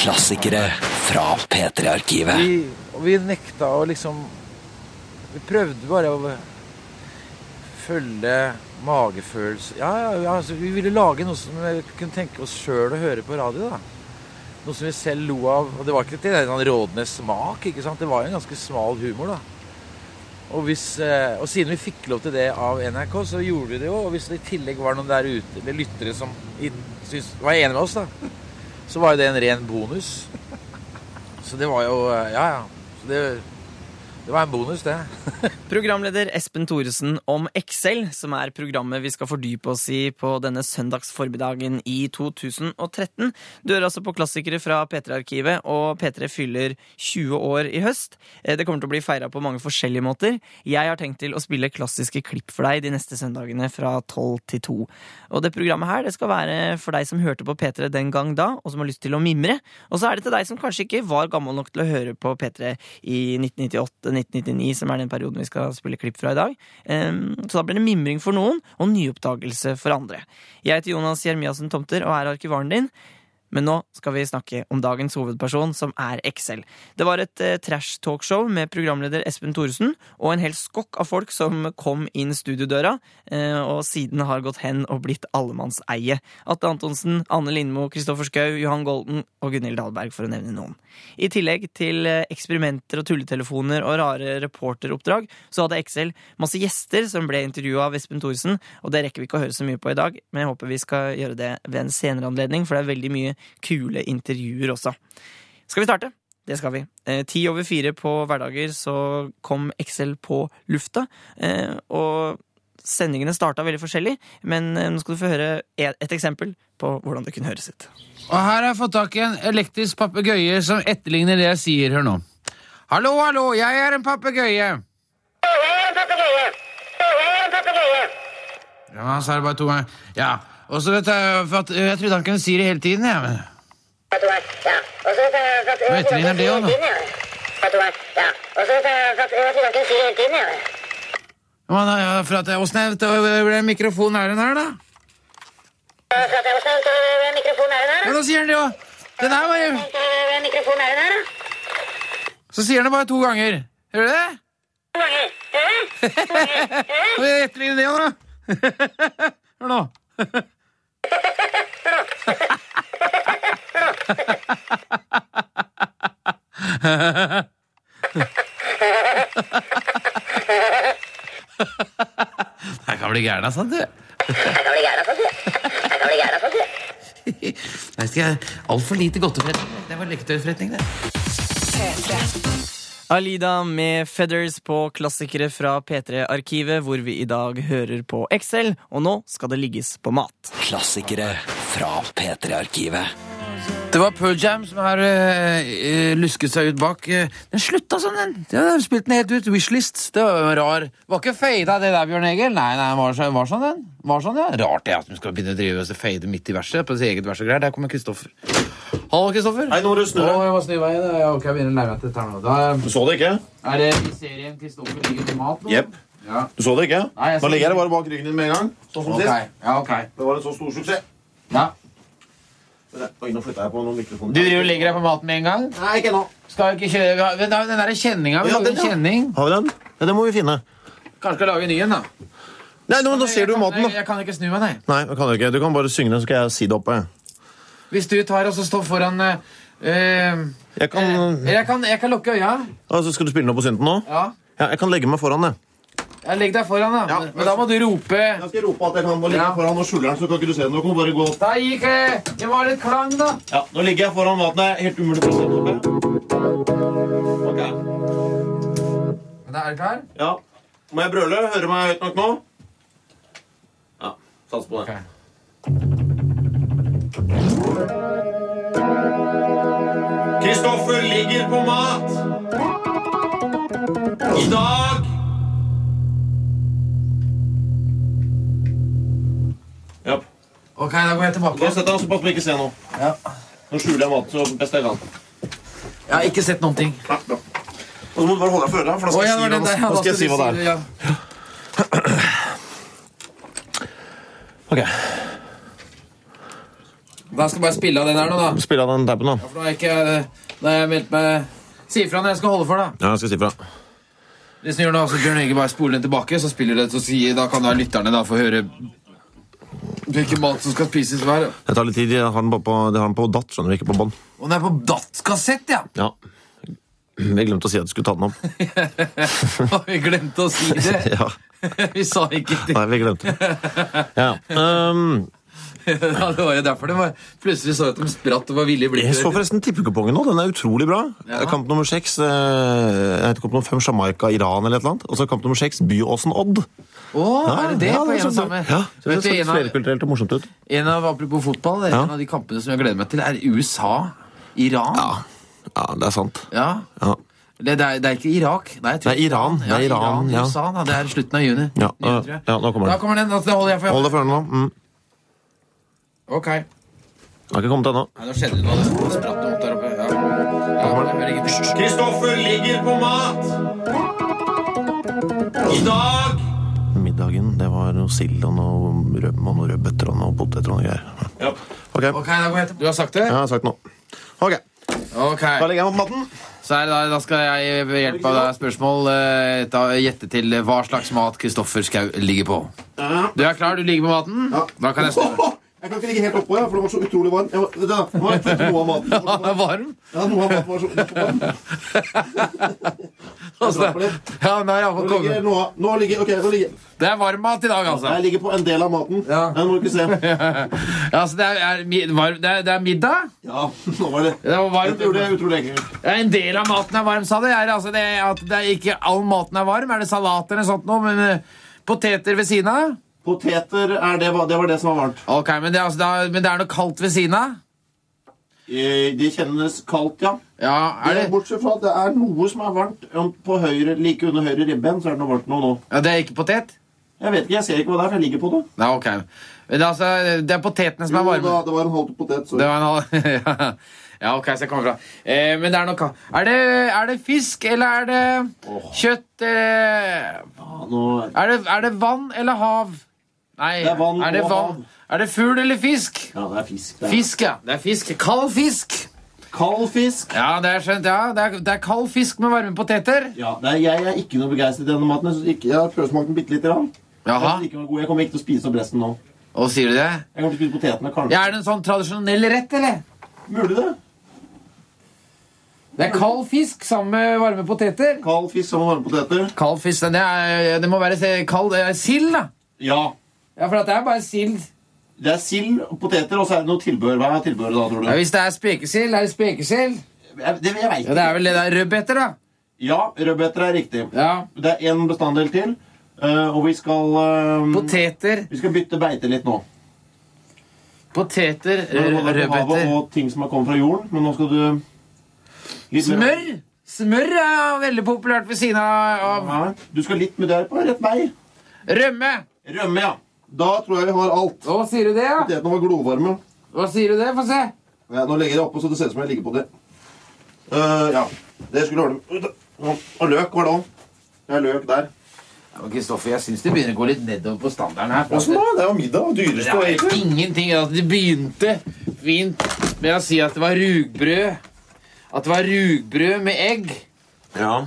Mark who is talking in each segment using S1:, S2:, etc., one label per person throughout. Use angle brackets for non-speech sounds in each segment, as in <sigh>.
S1: Klassikere fra P3-arkivet
S2: Vi, og vi nekta å liksom Vi prøvde bare å følge magefølelse Ja, ja, ja altså, vi ville lage noe som vi kunne tenke oss sjøl å høre på radio, da. Noe som vi selv lo av. Og det var ikke til en sånn rådende smak, ikke sant? Det var jo en ganske smal humor, da. Og, hvis, eh, og siden vi fikk lov til det av NRK, så gjorde vi det jo. Og hvis det i tillegg var noen der ute, eller lyttere som i- syntes, var enige med oss, da, så var jo det en ren bonus. Så det var jo eh, Ja, ja. Så det, det var en bonus, det. <laughs>
S3: Programleder Espen Thoresen om Excel, som er programmet vi skal fordype oss i på denne søndagsformiddagen i 2013. Du hører altså på klassikere fra P3-arkivet, og P3 fyller 20 år i høst. Eh, Det kommer til å bli feira på mange forskjellige måter. Jeg har tenkt til å spille klassiske klipp for deg de neste søndagene fra 12 til 2. Og det programmet her det skal være for deg som hørte på P3 den gang da, og som har lyst til å mimre. Og så er det til deg som kanskje ikke var gammel nok til å høre på P3 i 1998-1999, som er den perioden vi skal spille klipp fra i dag. Ehm, Så da blir det mimring for noen, og nyoppdagelse for andre. Jeg heter Jonas Jeremiassen Tomter og er arkivaren din. Men nå skal vi snakke om dagens hovedperson, som er Excel. Det var et eh, trash-talkshow med programleder Espen Thoresen og en hel skokk av folk som kom inn studiodøra, eh, og siden har gått hen og blitt allemannseie. Atte Antonsen, Anne Lindmo, Kristoffer Schou, Johan Golden og Gunhild Dahlberg, for å nevne noen. I tillegg til eh, eksperimenter og tulletelefoner og rare reporteroppdrag, så hadde Excel masse gjester som ble intervjua av Espen Thoresen, og det rekker vi ikke å høre så mye på i dag, men jeg håper vi skal gjøre det ved en senere anledning, for det er veldig mye kule intervjuer også. Skal vi starte? Det skal vi. Eh, Ti over fire på hverdager så kom Excel på lufta, eh, og sendingene starta veldig forskjellig, men eh, nå skal du få høre et et eksempel på hvordan det kunne høres ut.
S4: Og her har jeg fått tak i en elektrisk papegøye som etterligner det jeg sier. Hør nå. Hallo, hallo, jeg er en papegøye. Ja, han sa det bare to ganger. Ja. Og så vet jeg for at Jeg trodde han kunne si det hele tiden, jeg. Ja.
S5: Nå
S4: etterligner det også, da. Men ja, for at jeg, Åssen jeg vet det, ble mikrofonen er den her, da? Ja, da sier han det òg. Den her var jo Så sier han det bare to ganger. Hører du det?
S6: eh?
S4: Kan vi etterligne det òg, da? <laughs> Hør nå. Jeg kan bli gæren av sånt, du.
S6: altså,
S7: altså.
S4: <laughs> Jeg skal altfor lite godteforretning. Det var leketøyforretning, det.
S3: Alida med Feathers på klassikere fra P3-arkivet, hvor vi i dag hører på Excel, og nå skal det ligges på mat.
S1: Klassikere fra P3-arkivet
S4: Det var Pearl Jam som har eh, eh, lusket seg ut bak. eh, den slutta sånn, den. Ja, den spilte den helt ut. Wishlist. Det var jo rar. Var ikke fada, det der, Bjørn Egil? Nei, nei, var, så, var sånn, den. Var sånn, ja. Rart det at de skal begynne å drive og fade midt i verset. På sitt eget vers og greier. Der kommer Kristoffer. Hallo, Kristoffer.
S8: Hei, nå må du snu deg.
S4: jeg må snu veien. Ja, Ok, jeg begynner å nærme meg dette her nå. Da eh,
S8: Du så det ikke?
S4: er det i serien Kristoffer ligger med mat nå?
S8: Jepp.
S4: Ja.
S8: Du så det ikke?
S4: Nei, jeg så
S8: Nå legger jeg
S4: ikke.
S8: det bare bak ryggen din med en gang. Sånn som
S4: Ok.
S8: sist.
S4: Ja, ok.
S8: Det var en så stor suksess.
S4: Ja.
S8: Oi, nå flytta jeg på noen mikrofoner.
S4: Du driver og legger deg på maten med en gang?
S8: Nei, ikke nå.
S4: Skal vi ikke kjøre vi har- Den der kjenninga. Vi
S8: Ja,
S4: lager
S8: den, ja.
S4: kjenning.
S8: Har vi den? Ja, det må vi finne.
S4: Kanskje skal lage en ny en, da.
S8: Nei, nå, men da ser du
S4: Jeg kan-
S8: maten,
S4: Jeg,
S8: da.
S4: jeg kan ikke snu meg, nei.
S8: Nei, det kan du ikke. Du kan bare synge den, så skal jeg si det oppe.
S4: Hvis du tar og så står foran eh, eh,
S8: Jeg kan
S4: eh, jeg, kan, jeg kan lukke øya.
S8: Altså, Skal du spille noe på synten nå?
S4: Ja.
S8: Ja, jeg kan legge meg foran, jeg.
S4: Jeg legg deg foran, da.
S8: Ja.
S4: Men, men da må du rope.
S8: Jeg skal rope at jeg kan ligge
S4: Ja.
S8: foran og skjule den, så kan ikke du se den. Du kan bare gå
S4: Da gikk eh, Det var litt klang, da.
S8: Ja, nå ligger jeg foran maten. Det er helt umulig å se den oppe. Ok.
S4: Men da er du klar?
S8: Ja. Må jeg brøle? Hører du meg høyt nok nå? Ja. Sats på det.
S9: Stoffet ligger på mat. I dag Ja.
S4: Ok, da går jeg
S9: Da
S4: tilbake.
S9: setter jeg såpass på ikke se nå.
S4: Ja.
S9: Nå skjuler jeg maten så best jeg kan.
S4: Jeg har ikke sett noen ting.
S9: Ja, bra. Og så må du bare holde deg for øra, for da
S4: Å,
S9: skal
S4: ja,
S9: jeg
S4: det var
S9: si hva
S4: den der,
S9: det-
S4: ja,
S9: da skal jeg si hva det er.
S4: Ja.
S9: Ok,
S4: Da skal jeg bare spille av den her nå, da.
S9: Spill av den dabben, da.
S4: For da har jeg ikke eh, Da har jeg meldt meg Si ifra når jeg skal holde for, da.
S9: Ja, jeg skal si fra.
S4: Hvis du gjør det, så Bjørn Inge bare spoler den tilbake, så spiller det, så sier, da kan da lytterne da få høre hvilken mat som skal spises hver.
S9: Det tar litt tid. Jeg har den bare på, det har den på datt, skjønner du, ikke på bånd.
S4: Og den er på datskassett,
S9: <laughs>
S4: ja!
S9: Ja. Jeg glemte å si at du skulle ta den opp.
S4: Og vi glemte å si det.
S9: <laughs> Ja,
S4: <laughs> Vi sa ikke det.
S9: Nei, vi glemte det. Ja, ja. Um,
S4: <laughs> Ja, det var jo derfor det var Plutselig så jeg at de spratt og var villige i
S9: jeg så
S4: blikket.
S9: forresten tippekupongen nå. Den er utrolig bra. Kamp nummer seks eh, Nei, kamp nummer fem Jamaica-Iran eller et eller annet. Og så kamp nummer seks Byåsen-Odd.
S4: Å, er det det
S9: Ja,
S4: på
S9: er
S4: en og
S9: sånn-
S4: samme?
S9: Ja,
S4: Så
S9: så det
S4: vet du,
S9: ser
S4: en av,
S9: flerkulturelt og morsomt ut.
S4: en av apropos fotball, det er
S9: Ja.
S4: en av de kampene som jeg gleder meg til, er USA. Iran.
S9: Ja, ja det er sant.
S4: Ja.
S9: Ja.
S4: Det, det, er, det er ikke Irak. Nei, jeg tror
S9: Det er Iran.
S4: Ja,
S9: Det er Iran, ja.
S4: USA, da. Det er slutten av juni.
S9: Ja,
S4: Juni,
S9: øh,
S4: tror jeg.
S9: ja, nå kommer
S4: Da
S9: den.
S4: kommer den. Da da holder jeg for
S9: Hold deg for ørene nå. Mm.
S4: Ok. Nei,
S9: Den Har ikke kommet ennå.
S4: nå skjedde det noe. Det spratt noe opp der oppe. Ja. Ja, men det er ingenting.
S9: Kristoffer ligger på mat! I dag! Middagen, det var noe sild og noe rømme og noe rødbeter og noe poteter og noe greier. Ja. Ok, ja,
S4: Ok, da går jeg til. Du har sagt det?
S9: jeg har sagt noe. Ok,
S4: Ok.
S9: da legger jeg meg på maten.
S4: Så er det da, da skal jeg ved hjelp av deg spørsmål eh, ta, gjette til hva slags mat Kristoffer Schau ligger på. Du er klar? Du ligger på maten? Da kan jeg
S9: <laughs>
S4: starte.
S8: <laughs> Jeg kan ikke ligge helt oppå, ja, for den var så utrolig varm. Jeg, må- da, nå har jeg fått noe av
S4: <laughs>
S8: maten.
S4: Han er varm.
S8: Ja, noe av maten var så utrolig varm.
S4: <laughs> Altså. Ja, nei, jeg får
S8: Nå ligger,
S4: komme.
S8: nå, nå ligger, ok, nå ligger,
S4: Det er varm mat i dag, altså.
S8: jeg ligger på en del av maten.
S4: Ja.
S8: Ja. Nå må du ikke se.
S4: <laughs> Ja, altså det, er, er, mi- varm, det, er, det er middag.
S8: Ja, <laughs> nå var det.
S4: Det er varm.
S8: Dette gjorde jeg utrolig ekkelt.
S4: Ja, En del av maten er varm, sa du. Er det altså det at det er ikke all maten er varm? Er det salat eller sånt noe? Men eh, poteter ved siden av?
S8: Poteter, er det, hva- det var det som var varmt.
S4: Ok, men det, er altså, da, men det er noe kaldt ved siden av?
S8: Eh, Det kjennes kaldt, ja.
S4: Ja, er det?
S8: Bortsett fra at det er noe som er varmt om- på høyre, like under høyre ribben, så er det noe varmt nå nå.
S4: Ja, det er ikke potet?
S8: Jeg vet ikke, jeg ser ikke hva det er, for jeg ligger på det.
S4: Nei, ok. Men det, er altså, det er potetene som er
S8: Jo,
S4: varme.
S8: da, det var en halvt potet,
S4: Det
S8: sorry.
S4: var en halv... <laughs> ja, ok, så jeg kommer fra. Eh, men det er noe kaldt. Er det, er det fisk, eller er det kjøtt? Eller...
S8: Ja, Ah, nå,
S4: Er, det, er det vann eller hav? Nei,
S8: Det er vann
S4: det
S8: og
S4: vann?
S8: hav.
S4: Er det fugl eller fisk?
S8: ja, det er fisk. Det er.
S4: Fisk, ja. Det er fisk. Kald fisk.
S8: Kald fisk.
S4: Ja, det er skjønt, ja. Det er, det er kald fisk med varme poteter.
S8: Ja, det er, jeg er ikke noe begeistret i denne maten. Jeg, synes ikke, jeg har prøvsmakt den bitte lite grann. Jeg
S4: Jaha.
S8: synes ikke den var god. Jeg kommer ikke til å spise opp resten nå.
S4: Og sier du det?
S8: Jeg kommer til å spise potetene, kanskje.
S4: Ja, er det en sånn tradisjonell rett, eller?
S8: Mulig det.
S4: Det er kald fisk sammen med varme poteter.
S8: Kald fisk sammen med varme poteter.
S4: Kald fisk, den er, det må være se- kald eh, sild, da.
S8: Ja.
S4: Ja, for at det er bare sild.
S8: Det er sild og poteter, og så er det noe tilbehør. Hva er tilbehøret da, tror
S4: Ja,
S8: du?
S4: hvis det er spekesild, er det spekesild.
S8: Jeg, det jeg vet
S4: Ja, det
S8: ikke.
S4: er vel det der rødbeter, da.
S8: Ja, rødbeter er riktig.
S4: Ja.
S8: Det er én bestanddel til, eh, og vi skal eh,
S4: Poteter,
S8: Vi skal bytte beite litt nå.
S4: poteter,
S8: Nå har det
S4: rø-
S8: vært på havet
S4: rødbeter.
S8: Og ting som har kommet fra jorden. Men nå skal du litt mer-
S4: Smør! Smør er veldig populært ved siden av
S8: Ja, du skal litt med deg på rett vei.
S4: av rømme.
S8: Rømme, ja. Da tror jeg vi har alt.
S4: Å, sier du det, ja?
S8: Potetene var glovarme.
S4: Hva sier du det? Få se.
S8: Ja, nå legger jeg oppå så det ser ut som jeg ligger på det. Eh, ja, det skulle ordne Og løk var det òg. Det er løk der.
S4: Ja, men Kristoffer, jeg syns det begynner å gå litt nedover på standarden her. for at-
S8: Åssen da? Det er jo middag. og
S4: Det
S8: Dyreste og
S4: er
S8: egentlig.
S4: ingenting. Altså, det begynte fint med å si at det var rugbrød. At det var rugbrød med egg.
S9: Ja.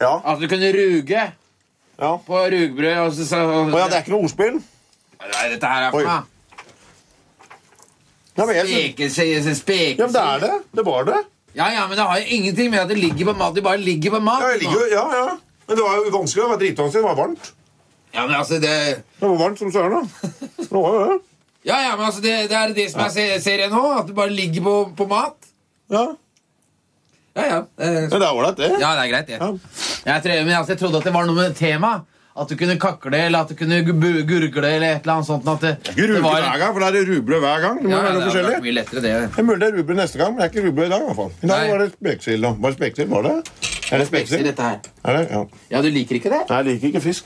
S4: At du kunne ruge
S8: Ja.
S4: på rugbrød. Og så, så,
S8: Å ja, det er ikke noe ordspill?
S4: Nei, dette her er
S8: Oi.
S4: for meg.
S8: Ja, men, jeg, synes-
S4: Spekesild
S8: ja, men det er det. Det var det.
S4: Ja, ja, men det har jo ingenting med at det ligger på mat. Det bare ligger på mat.
S8: Ja, jeg ligger jo Ja, ja. Men det var jo vanskelig. Det var dritvanskelig. Det var varmt.
S4: Ja, men altså, det...
S8: Det var varmt som søren, da. Det var jo det.
S4: Ja, ja, men altså, det, det er det som jeg ser, ser jeg nå. At det bare ligger på, på mat.
S8: Ja.
S4: Ja, ja. eh,
S8: Men det er ålreit, det.
S4: Ja, det er greit, det.
S8: Ja.
S4: Jeg, tror, men altså, jeg trodde at det var noe med tema. At du kunne kakle, eller at du kunne gu- bu- gurgle, eller et eller annet sånt. At det,
S9: Ikke
S4: det
S9: ruble
S4: var-
S9: hver gang, for da er det ruble hver gang. Det må
S4: Ja,
S9: være
S4: det
S9: noe
S4: hadde vært
S9: forskjellig.
S4: mye lettere, det.
S9: Det er mulig det er ruble neste gang, men det er ikke ruble i dag. i hvert fall. I dag
S4: Nei.
S9: var det spekesild. da. Var det spekesild, var det? Er det spekesild?
S4: Dette her.
S9: Er det? Ja.
S4: Ja, du liker ikke det?
S9: Nei, jeg liker ikke fisk.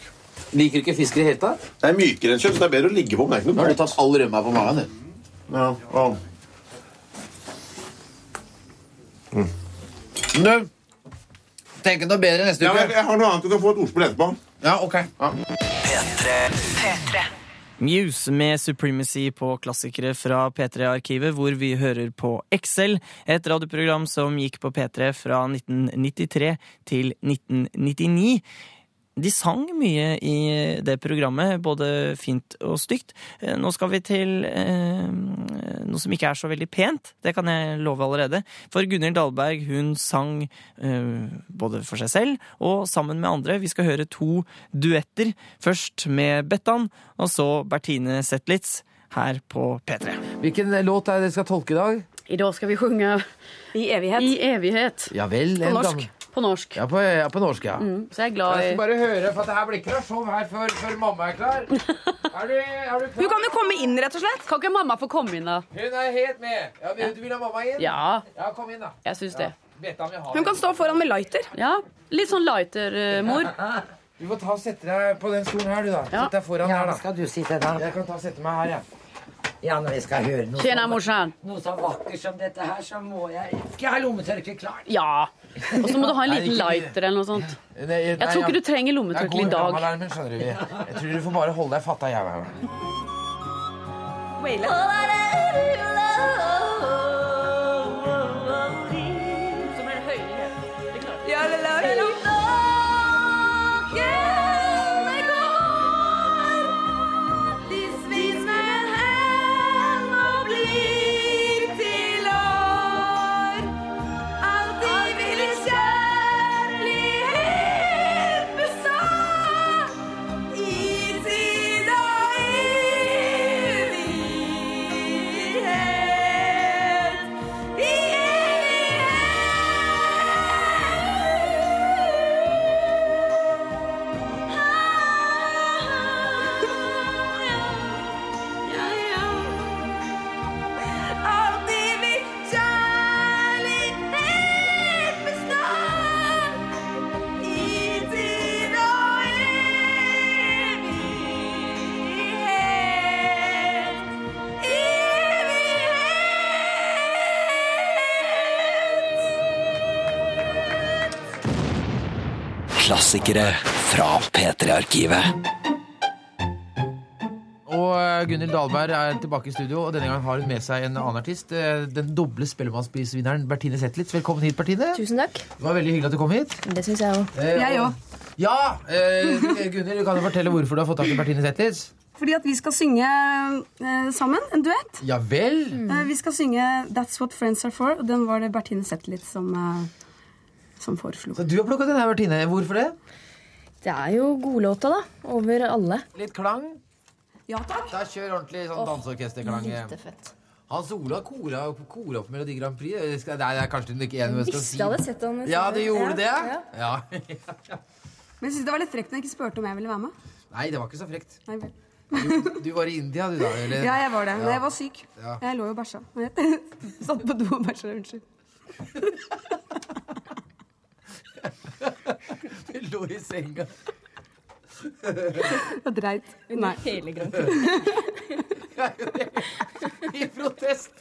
S4: Liker ikke fisk i det hele tatt?
S9: Det er mykere enn kjøtt, så det er bedre å ligge på. Men det er
S4: Nå
S9: ikke noe
S4: har du tatt all rømma på magen, du.
S9: Ja, ja. Mm.
S4: Men du, tenk noe bedre neste
S9: Ja, men
S4: uke.
S9: jeg har noe annet du kan få et ordspill etterpå.
S4: Ja, ok.
S3: Muse med Supremacy på klassikere fra P3-arkivet, hvor vi hører på Excel, et radioprogram som gikk på P3 fra 1993 til 1999. De sang mye i det programmet, både fint og stygt. Eh, Nå skal vi til eh, noe som ikke er så veldig pent, det kan jeg love allerede. For Gunhild Dahlberg hun sang eh, både for seg selv og sammen med andre. Vi skal høre to duetter. Først med Bettan, og så Bertine Zetlitz her på P3.
S4: Hvilken låt er det dere skal tolke i dag?
S7: I dag skal vi synge
S6: I evighet.
S7: I evighet.
S4: Ja vel.
S7: På
S4: en
S7: norsk.
S4: gammel-
S7: På norsk.
S4: Ja, på, ja, på norsk, ja.
S7: Mm, Så jeg er glad i
S4: Jeg skal bare høre, for det her blir ikke noe show her før, før mamma er klar. Er du, er du
S6: Hun
S4: klar?
S6: kan jo komme inn, rett og slett.
S7: Kan ikke mamma få komme inn, da?
S4: Hun er helt med. Ja, vil- du vil ha mamma inn?
S7: Ja,
S4: Ja, kom inn, da.
S7: jeg syns det.
S4: Beta vil ha
S6: Hun
S4: deg.
S6: kan stå foran med lighter.
S7: Ja, Litt sånn lighter-mor.
S4: Du får ta og sette deg på den stolen her, du, da.
S7: Ja.
S4: Sett deg foran
S10: Ja,
S4: her, da.
S10: skal du sitte der?
S4: Jeg kan ta og sette meg her, jeg.
S10: Ja, når vi skal høre noe,
S7: Tjena,
S10: så,
S7: morsan.
S10: noe så vakkert som dette her, så må jeg ikke ha lommetørkle klart.
S7: Ja. Og så må du ha en liten
S4: Nei, ikke-
S7: lighter eller noe sånt.
S4: Nei, nei, Jeg
S7: Jeg tror ikke du trenger
S4: Det er
S7: lommetørkle i
S4: god
S7: dag.
S4: brannalarmen, skjønner du. Jeg tror du får bare holde deg fatta, jeg. vel.
S5: Klassikere fra P3-arkivet.
S4: Og eh, Gunhild Dahlberg er tilbake i studio, og denne gangen har hun med seg en annen artist. eh, Den doble Spellemannsprisvinneren Bertine Zetlitz. Velkommen hit, Bertine.
S11: Tusen takk.
S4: Det var veldig hyggelig at du kom hit.
S11: Det syns jeg òg.
S4: Eh,
S6: Jeg
S4: og- Ja! Eh, Gunhild, du kan jo fortelle hvorfor du har fått tak i Bertine Zetlitz?
S6: Fordi at vi skal synge eh, sammen, en duett.
S4: Ja vel?
S6: Eh, vi skal synge That's What Friends Are For, og den var det Bertine Zetlitz som, eh, som foreslo.
S4: Så du har plukket den her, Bertine. Hvorfor det?
S11: Det er jo godlåta, da. Over alle.
S4: Litt klang.
S6: Ja takk.
S4: Da kjør ordentlig sånn danseorkesterklang.
S11: Lite fett.
S4: Hans Ola kora, kora opp Melodi Grand Prix. Jeg skal- Nei, det er kanskje ikke enig med hva jeg skal
S11: Visste
S4: si.
S11: jeg hadde sett han.
S4: Ja, du gjorde det?
S11: Ja.
S4: Ja. <laughs>
S6: Men jeg synes det var litt frekt når jeg ikke spurte om jeg ville være med.
S4: Nei, det var ikke så frekt.
S6: Nei, vel.
S4: Du var i India, du, da? Eller?
S6: ja, jeg var det. Men jeg var syk. Jeg lå jo og bæsja. <laughs> Satt på do og bæsja. Unnskyld.
S4: Lå i senga.
S6: Jeg dreit. Nei.
S11: Hele grunnen.
S4: <laughs> I protest.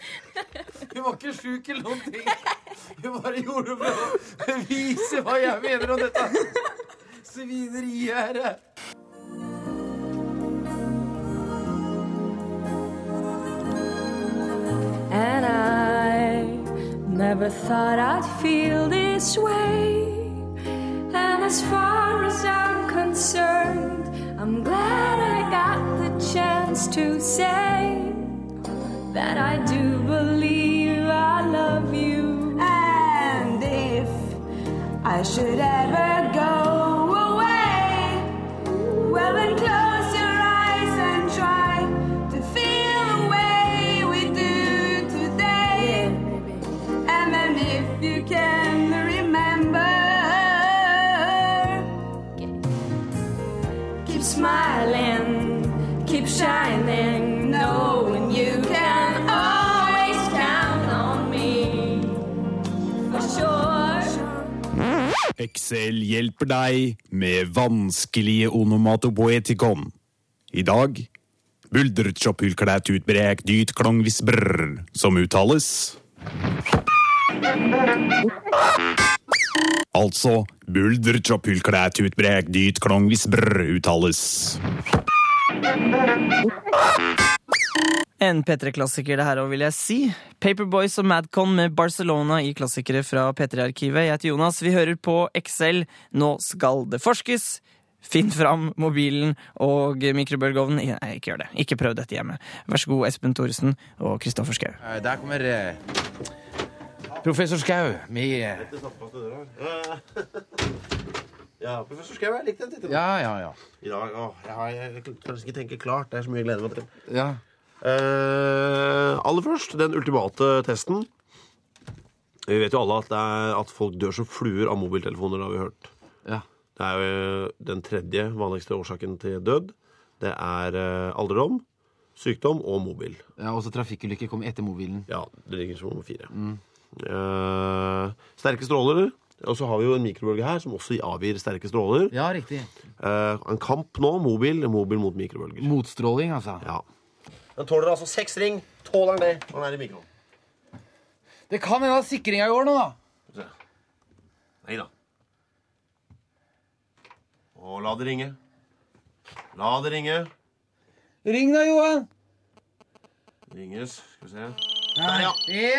S4: Hun var ikke sjuk eller noen ting. Hun bare gjorde det for å vise hva jeg mener om dette svineriet her.
S11: And I never thought I'd feel this way. And as far as I'm concerned, I'm glad I got the chance to say that I do believe I love you.
S6: And if I should ever go away, well then close your eyes and try to feel the way we do today. And then if you can remember,
S12: Excel hjelper deg med vanskelige onomatopoetikon. I dag buldretjoppulklæt utbrek dyt klongvisbrr, som uttales Altså buldretjoppulklæt utbrek dyt klongvisbrr uttales.
S3: En P3-klassiker det her òg, vil jeg si. Paperboys og Madcon med Barcelona i klassikere fra P3-arkivet. Jeg heter Jonas. Vi hører på Excel. Nå skal det forskes. Finn fram mobilen og mikrobølgeovnen. Nei, ikke gjør det. Ikke prøv dette hjemme. Vær så god, Espen Thoresen og Kristoffer Schau.
S4: Eh, Der kommer eh, professor Skau. med, eh,
S8: Ja, professor Skau, jeg likte den tittelen.
S4: Ja, ja, ja.
S8: I dag, åh, jeg, har, jeg kan kanskje ikke tenke klart. Det er så mye jeg gleder meg til.
S4: Ja.
S8: Eh, aller først, den ultimate testen. Vi vet jo alle at, det er, at folk dør som fluer av mobiltelefoner, har vi hørt.
S4: Ja.
S8: Det er jo eh, den tredje vanligste årsaken til død. Det er eh, alderdom, sykdom og mobil.
S4: Ja, også trafikkulykker kommer etter mobilen. Mm.
S8: Ja, det ligger som nummer fire. Eh, sterke stråler. Og så har vi jo en mikrobølge her som også avgir sterke stråler. Eh,
S4: Ja, riktig.
S8: en kamp nå, mobil, mobil mot mikrobølger.
S4: Motstråling, altså.
S8: Ja. Den tåler altså seks ring. Tåler den det når den er i mikroen?
S4: Det kan hende at sikringa går nå, da.
S8: Nei da. Og la det ringe. La det ringe.
S4: Ring da, Johan.
S8: Ringes. Skal vi se. Der, ja.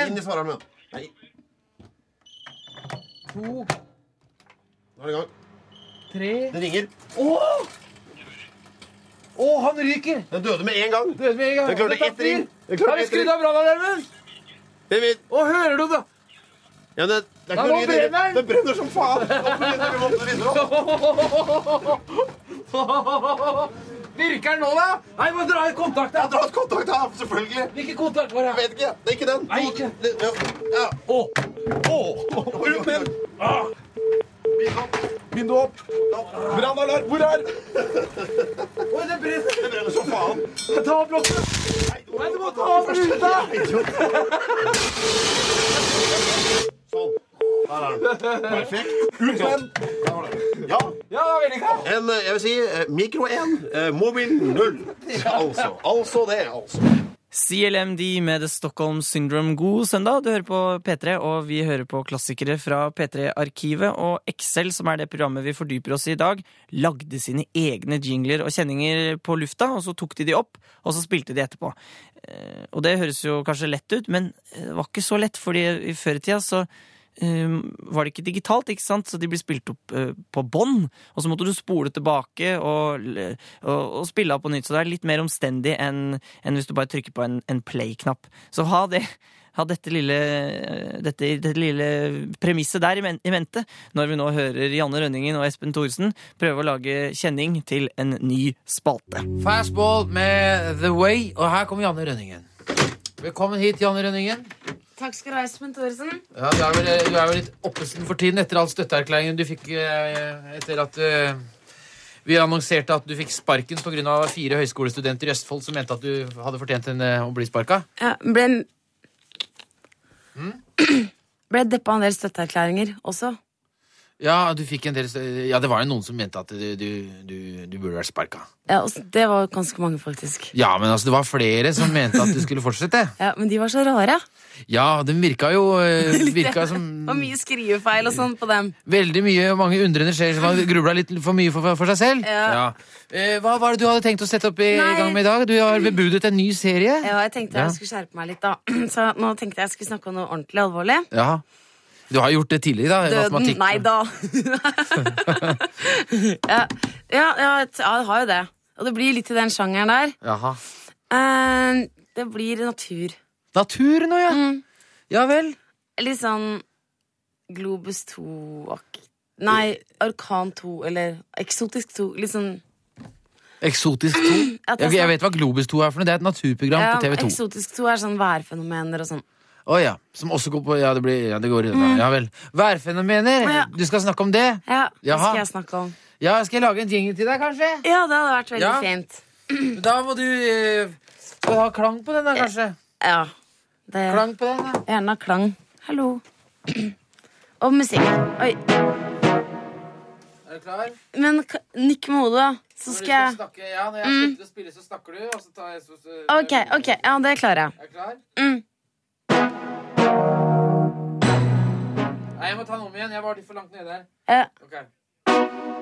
S8: Inn i svararmen. Nei,
S4: To,
S8: nå er det i gang.
S4: tre
S8: Det ringer.
S4: Å! Å, han ryker!
S8: Den døde med en gang.
S4: Døde med en gang.
S8: Den klarte
S4: Dette er
S8: ett ring.
S4: fyr.
S8: Den klarte
S4: Har vi
S8: ett
S4: skrudd
S8: ring.
S4: av brannalarmen?
S8: Det er mitt.
S4: Å, hører du det?
S8: Ja, men det,
S4: Da
S8: det er
S4: må
S8: ikke noe lyd. i det.
S4: brenner
S8: Det brenner som faen. Nå brenner vi måten
S4: <laughs>
S8: videre opp.
S4: Virker den nå, da? Nei, vi må dra i kontakt. da.
S8: Jeg drar et kontakt her, selvfølgelig.
S4: Hvilken kontakt var det?
S8: Jeg vet ikke. Det er ikke den.
S4: Nei, ikke.
S8: Det, ja. ja.
S4: Å!
S8: Rundt den. Bind opp.
S4: Bind opp.
S8: Brannalarm. Hvor er
S4: Oi, det brenner.
S8: Det brenner som faen.
S4: Ta opp blokken. Nei, du må ta opp ruta.
S8: Sånn. Der er den. Perfekt. Ut med den. Ja.
S4: Ja, vellykka.
S8: En, eh, jeg vil si, eh, mikro 1, eh, mobil 0. Altså. Altså det, altså.
S3: CLMD med The Stockholm Syndrome. God søndag. Du hører på P3, og vi hører på klassikere fra P3-arkivet. Og Excel, som er det programmet vi fordyper oss i i dag, lagde sine egne jingler og kjenninger på lufta, og så tok de de opp, og så spilte de etterpå. Eh, Og det høres jo kanskje lett ut, men det var ikke så lett, fordi i før i tida så um, var det ikke digitalt, ikke sant? så de ble spilt opp eh, på bånd. Og så måtte du spole tilbake og, l- og, og spille av på nytt. Så det er litt mer omstendig enn enn hvis du bare trykker på en, en play-knapp. Så ha det. Ha dette lille, eh, dette, dette lille premisset der i men- i mente når vi nå hører Janne Rønningen og Espen Thoresen prøve å lage kjenning til en ny spalte.
S4: Fastball med The Way, og her kommer Janne Rønningen. Velkommen hit, Janne Rønningen.
S13: Takk skal du ha, Espen Thoresen.
S4: Ja, du, er vel, du er vel litt oppesen for tiden etter all støtteerklæringen du fikk eh, etter at eh, vi annonserte at du fikk sparken pga. fire høyskolestudenter i Østfold som mente at du hadde fortjent en, eh, å bli sparka.
S13: Ja, ble
S4: Mm?
S13: <clears throat> ble deppa av en del støtteerklæringer også.
S4: Ja, du fikk en del, stø- ja, det var jo noen som mente at du, du, du, du burde vært sparka.
S13: Ja, og s- det var ganske mange, faktisk.
S4: Ja, men altså, det var flere som mente at du skulle fortsette.
S13: Ja, Men de var så rare.
S4: Ja, den virka jo eh,
S13: <laughs> Litt-
S4: virka som
S13: Det var mye skrivefeil og sånn på dem.
S4: Veldig mye, mange undrende skjer som har grubla litt for mye for, for seg selv.
S13: Ja.
S4: Eh, hva var det du hadde tenkt å sette opp i,
S13: Nei. Mm.
S4: i gang med i dag? Du har bebudet en ny serie.
S13: Ja, jeg tenkte
S4: Ja.
S13: jeg skulle skjerpe meg litt, da. <clears throat> Så nå tenkte jeg jeg skulle snakke om noe ordentlig alvorlig.
S4: Ja. Du har gjort det tidligere, da. i
S13: Døden.
S4: matematikk.
S13: Nei
S4: <laughs>
S13: da. <laughs> ja, ja, ja, t- ja, jeg har jo det. Og det blir litt i den sjangeren der.
S4: Jaha.
S13: Eh, det blir natur. Mm.
S4: Natur nå, ja. Ja vel.
S13: Litt sånn Globus 2-aktig. Nei, Orkan 2, eller Eksotisk 2. Litt sånn <clears throat>
S4: Eksotisk 2.
S13: At jeg
S4: Jeg, jeg vet hva Globus 2 er for noe. Det er et naturprogram
S13: ja,
S4: på TV 2.
S13: Eksotisk 2 er sånn værfenomener og sånn.
S4: Å ja. Som også går på Ja, det, blir, ja, det går i
S13: Mm.
S4: Ja vel. Værfenomener.
S13: Ja.
S4: Du skal snakke om det?
S13: Ja, det
S4: Jaha.
S13: skal jeg snakke om.
S4: Ja, skal jeg lage en jingle til deg, kanskje?
S13: Ja, det hadde vært veldig
S4: Ja.
S13: fint.
S4: <clears throat> Da må du eh, Skal du ha klang på den, da, kanskje?
S13: Ja. Det...
S4: Klang på den, da.
S13: <clears throat> Gjerne klang. Hallo. Og musikk. Oi.
S4: Er du klar?
S13: Men k- nikk med hodet, så
S4: Når du
S13: skal jeg
S4: snakke, ja, når jeg
S13: Mm.
S4: slutter å spille, så snakker du, og så tar jeg så, så,
S13: OK, ok, ja, det klarer jeg.
S4: Er du klar?
S13: Mm.
S4: Nei, jeg må ta den om igjen. Jeg var litt for langt nede her.
S13: Ja.
S4: Ok.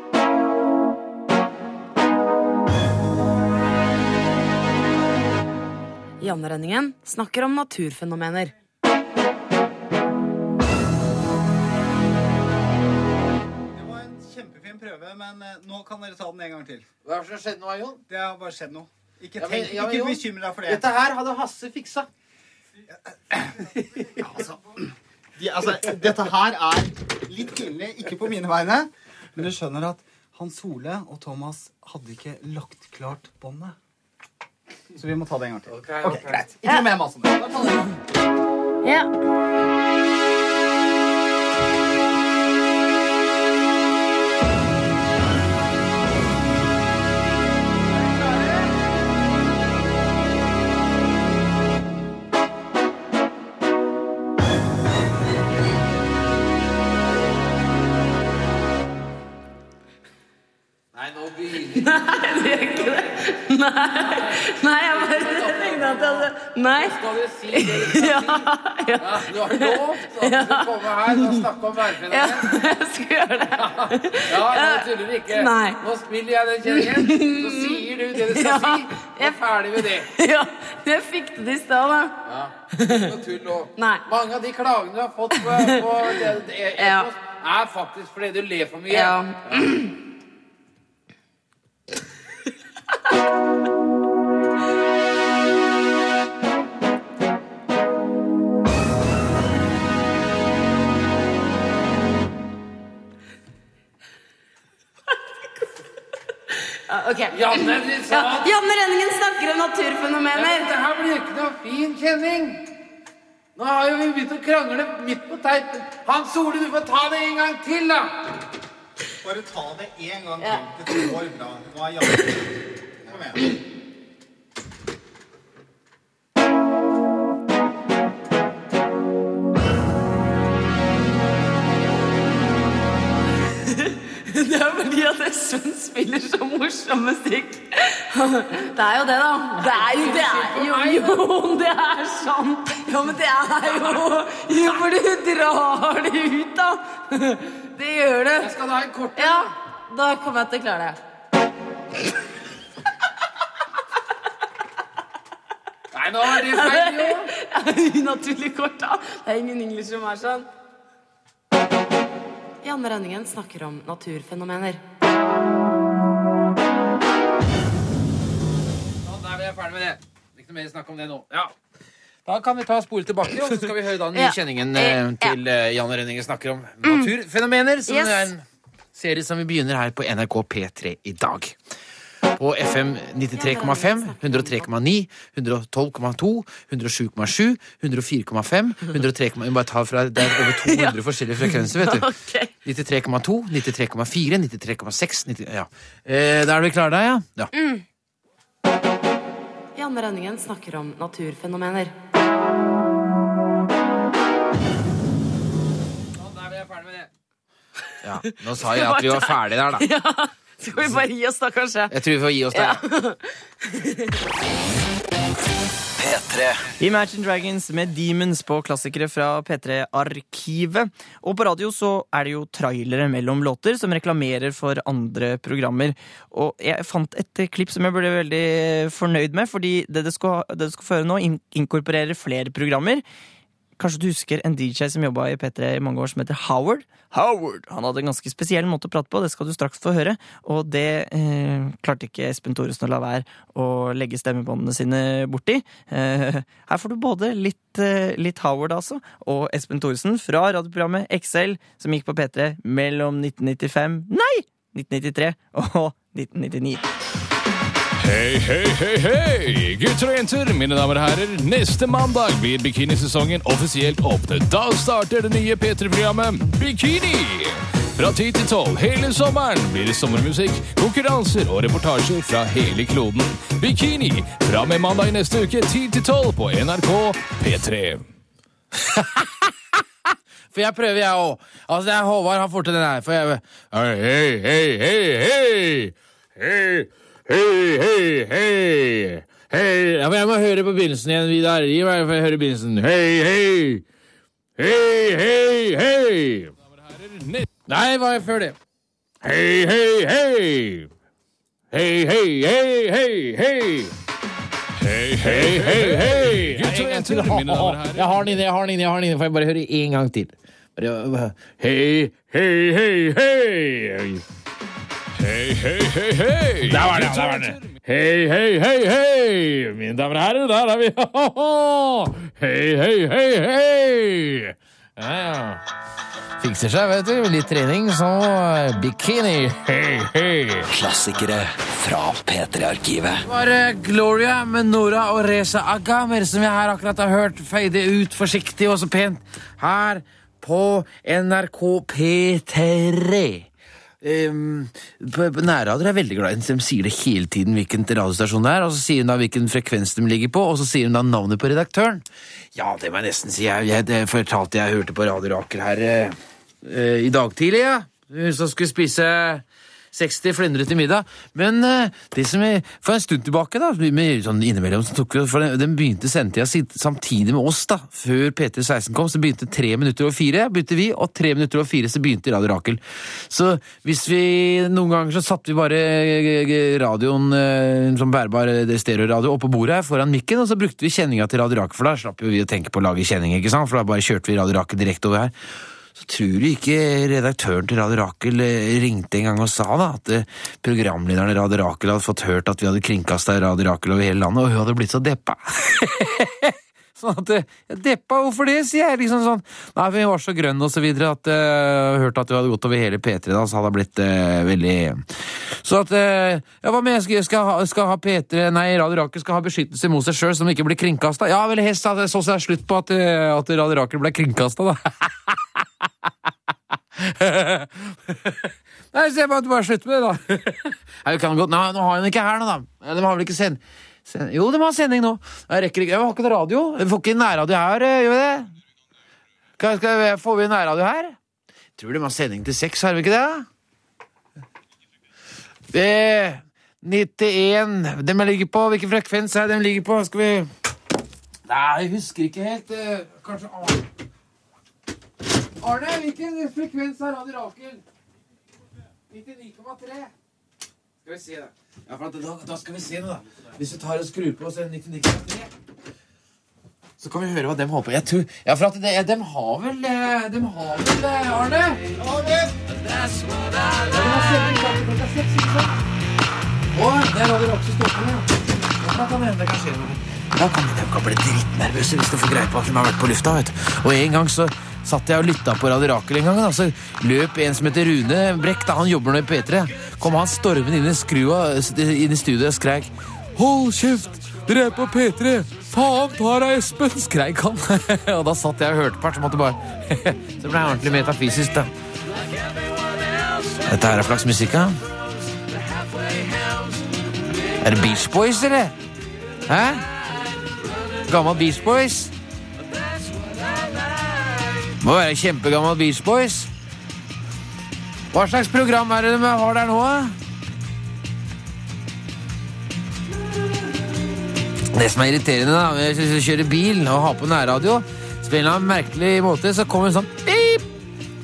S13: Janne Rønningen snakker om naturfenomener.
S14: Kjempefin prøve, men eh, nå kan dere ta den en gang til.
S4: Hva er det som skjedde nå, Jon?
S14: Det har bare skjedd noe. Ikke,
S4: Ja, men-
S14: tenk-
S4: ja, men
S14: ikke
S4: Jon,
S14: bekymre deg for det.
S4: Dette her hadde Hasse fiksa.
S14: De, altså, dette her er litt pinlig, ikke på mine vegne. Men du skjønner at Hans Ole og Thomas hadde ikke lagt klart båndet. Så vi må ta det en gang til. Ok, greit. Ikke noe mer mas om det. Da tar vi det.
S13: Ja. <laughs>
S4: Nei, nå begynner
S13: Nei, det gjør ikke det. Nei, Nei jeg bare tenkte at jeg hadde Nei.
S4: Skal du si det du skal si? Ja, du har lovt at du kommer her og snakker om værfenomenet. Ja,
S13: <laughs> jeg skal gjøre det.
S4: Ja, nå tuller du ikke.
S13: Nei.
S4: Nå spiller jeg den kjenningen, så sier du det du skal
S13: Ja,
S4: si. Jeg er ferdig med det.
S13: Ja, jeg fikk det i stad, da.
S4: Ja, ikke noe tull nå.
S13: Nei.
S4: Mange av de klagene du har fått på, på det- det- e-
S13: Ja.
S4: e-post, er faktisk fordi du ler for mye.
S13: Ja. Ja, Ok.
S4: Janne, du sa-
S13: Ja, Janne Rønningen snakker om
S4: Ja,
S13: naturfenomener.
S4: men dette her blir jo ikke noe fin kjenning. Nå har jo vi begynt å krangle midt på teipen. Hans Ole, du får ta det en gang til, da.
S14: Bare ta det en gang til. Det går bra. Nå er Janne Kom igjen.
S13: <laughs> Det er fordi at Espen spiller så morsom musikk. <laughs> Det er jo det, da. Det er jo det er jo, jo det er sånn. Ja, men det er jo Jo, for du drar det ut, da. Det gjør det.
S4: Skal du ha en kort
S13: Ja, da kommer jeg til å klare det.
S4: Nei, nå var det feil, jo.
S13: Det er Unaturlig kort, da. Det er ingen engelsk som er sånn. Janne Rønningen snakker om naturfenomener.
S4: Sånn, da er vi ferdig med det. Det er Ikke noe mer snakk om det nå. Ja. Da kan vi ta spole tilbake, og så skal vi høre da den nye
S13: Ja. Mm.
S4: kjenningen eh, til eh, Janne Rønningen snakker om naturfenomener. Som
S13: Yes.
S4: er en serie som vi begynner her på NRK P3 i dag. På FM 93,5, 103,9, 112,2, 107,7, 104,5 103,5 Vi bare tar fra Det er over
S13: <laughs>
S4: 200 forskjellige frekvenser, vet du. 93,2, 93,4, 93,6 90, Ja. Eh, da er vi klare der, ja? Ja.
S13: Mm. Janne Rønningen snakker om naturfenomener.
S4: Ja, Nå sa jeg at vi var ferdige der, da.
S13: Ja. Skal vi bare gi oss, da, kanskje?
S4: Jeg tror vi får gi oss der.
S3: Imagine Dragons med Demons på klassikere fra P3-arkivet. Og på radio så er det jo trailere mellom låter som reklamerer for andre programmer. Og jeg fant et klipp som jeg ble veldig fornøyd med, fordi det du skal, det du skal føre nå, in inkorporerer flere programmer. Kanskje du husker en DJ som jobba i P3 i mange år, som heter Howard? Howard! Han hadde en ganske spesiell måte å prate på, det skal du straks få høre. Og det eh, klarte ikke Espen Thoresen å la være å legge stemmebåndene sine borti. Eh, her får du både litt, eh, litt Howard, altså, og Espen Thoresen fra radioprogrammet XL, som gikk på P3 mellom 1995 Nei! 1993 og 1999.
S15: Hei, hei, hei, hei! Gutter og jenter, mine damer og herrer. Neste mandag blir bikinisesongen offisielt åpnet. Da starter det nye P3-programmet Bikini! Fra 10 til 12 hele sommeren blir det sommermusikk, konkurranser og reportasjer fra hele kloden. Bikini fra og med mandag i neste uke 10 til 12 på NRK P3.
S4: For jeg prøver, jeg òg. Altså, det er Håvard har fortere enn jeg. For jeg Hei, hei, hei, hei! Hei, hei, hei, hei! Hei! Ja, men jeg må høre på begynnelsen igjen, Vidar. Gi meg for jeg hører begynnelsen. Hei, hei! Hei, hei, hei! Nei, hva er før det? Hei, hei, hei! Hei, hei, hei, hei, hei! Hei, hei, hei, hei! En gang til. Ha, ha, ha. Jeg har den inne, jeg har den inne, jeg har den inne. Får jeg bare høre en gang til? Bare, hei, hei, hei, hei! Hei, hei, hei, hei! Der var det, der var det. Hei, hei, hei, hei! Mine damer og herrer, der er vi! <laughs> Hei, hei, hei, hei! Ja, ja. Fikser seg, vet du. Litt trening, så eh, bikini. Hei, hei!
S5: Klassikere fra P3-arkivet.
S4: Det var eh, Gloria med Nora og Reza Agamer som jeg her akkurat har hørt fade ut forsiktig og så pent her på NRK P3. Um, Nærradioer er veldig glad i De sier det hele tiden hvilken radiostasjon det er, og så sier hun da hvilken frekvens de ligger på, og så sier hun da navnet på redaktøren. Ja, det må jeg nesten si. Jeg, jeg, det fortalte jeg hørte på Radio Rakel her eh, eh, i dag tidlig, ja. Hun som skulle spise 60 flindre til middag. Men eh, det som jeg, for en stund tilbake, da, med, sånn innimellom, så tok vi, for den, den begynte sendetida si- samtidig med oss, da, før P316 kom. Så begynte tre minutter over fire, begynte vi, og tre minutter over fire så begynte Radio Rakel. Så hvis vi Noen ganger så satte vi bare eh, radioen eh, som bærbar eh, stereoradio oppå bordet her foran mikken, og så brukte vi kjenninga til Radio Rakel, for da slapp jo vi å tenke på å lage kjenning, ikke sant? For da bare kjørte vi Radio Rakel direkte over her. Så tror du ikke redaktøren til Radio Rakel eh, ringte en gang og sa da at eh, programlederen i Radio Rakel hadde fått hørt at vi hadde kringkasta Radio Rakel over hele landet, og hun hadde blitt så deppa. sånn at eh, «Ja, Deppa, hvorfor det, sier jeg. liksom sånn. Nei, for vi var så grønne og så videre at eh, hørte at du hadde gått over hele P3 da, så hadde jeg blitt eh, veldig Så at eh, Ja, hva med skal, skal, ha- skal ha P3 Nei, Radio Rakel skal ha beskyttelse mot seg sjøl, så de ikke blir kringkasta. Ja, vel, helst at det så seg slutt på at, eh, at Radio Rakel ble kringkasta, da. <laughs> Nei, så jeg bare, bare slutter med det, da. <laughs> Nei, vi kan godt. Nei, nå har hun ikke her nå, da. Ja, De har vel ikke send... send... Jo, de har sending nå. Jeg rekker ikke. Jeg har ikke noe radio. Vi får ikke nærradio her, eh, gjør vi det? Skal, skal, vi- får vi nærradio her? Tror de har sending til seks, har vi ikke det? Det 91 De ligger på Hvilken frekvens er det de ligger på? Skal vi Nei, jeg husker ikke helt. eh, Kanskje Arne Arne, hvilken frekvens er Radio Rakel? 99,3. Skal vi se, da. Ja, for at da, da skal vi se nå, da. Hvis vi tar og skrur på oss en 99,3 så kan vi høre hva dem holder på Jeg tror, ja, for at det, dem har vel eh, Dem har vel eh, Arne? Dem har sending klart klokka seks, ikke sant? Å, der har vi Roxy Stoltenberg, ja. Da kan det hende det kan skje noe. Da kan de kan bli dritnervøse hvis de får greie på at de har vært på lufta. vet du. Og en gang så satt jeg og lytta på Radio Rakel en gang. Da, så løp en som heter Rune Brekk, da han jobber nå i P3, kom han stormende inn i, skrua, inn i studioet og skreik Hold kjeft! Dere er på P3! Faen ta deg, Espen! skreik han. <laughs> og da satt jeg og hørte på, her, så måtte jeg bare <laughs> Så ble jeg ordentlig metafysisk, da. Dette her er flaks musikk, ja. Er det Beach Boys, eller? Hæ? Gammel Beach Boys? Må være kjempegammel Beach Boys. Hva slags program er det de har der nå, da? Det som er irriterende, da, hvis du kjører bil og har på nærradio, spiller en merkelig måte, så kommer en sånn pip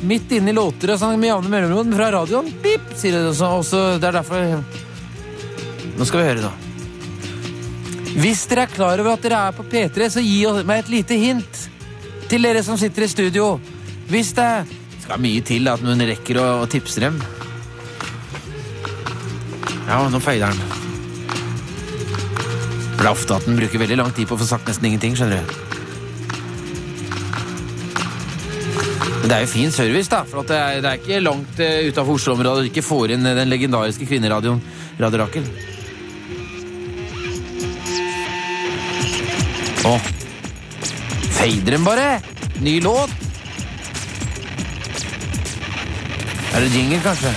S4: midt inni låter og sånn med jevne mellomrom fra radioen. Pip, sier det også. også. Det er derfor nå skal vi høre, da. Hvis dere er klar over at dere er på P3, så gi oss- meg et lite hint til dere som sitter i studio. Hvis det Det skal mye til at noen rekker å, å tipse dem. Ja, nå feiler den. For det er ofte at den bruker veldig lang tid på å få sagt nesten ingenting, skjønner du. Men det er jo fin service, da. For at det, er, det er ikke langt uh, utafor Oslo-området du ikke får inn eh, den legendariske kvinneradioen Radio Rakel. Å. Fader den bare! Ny låt! Er det jingle, kanskje?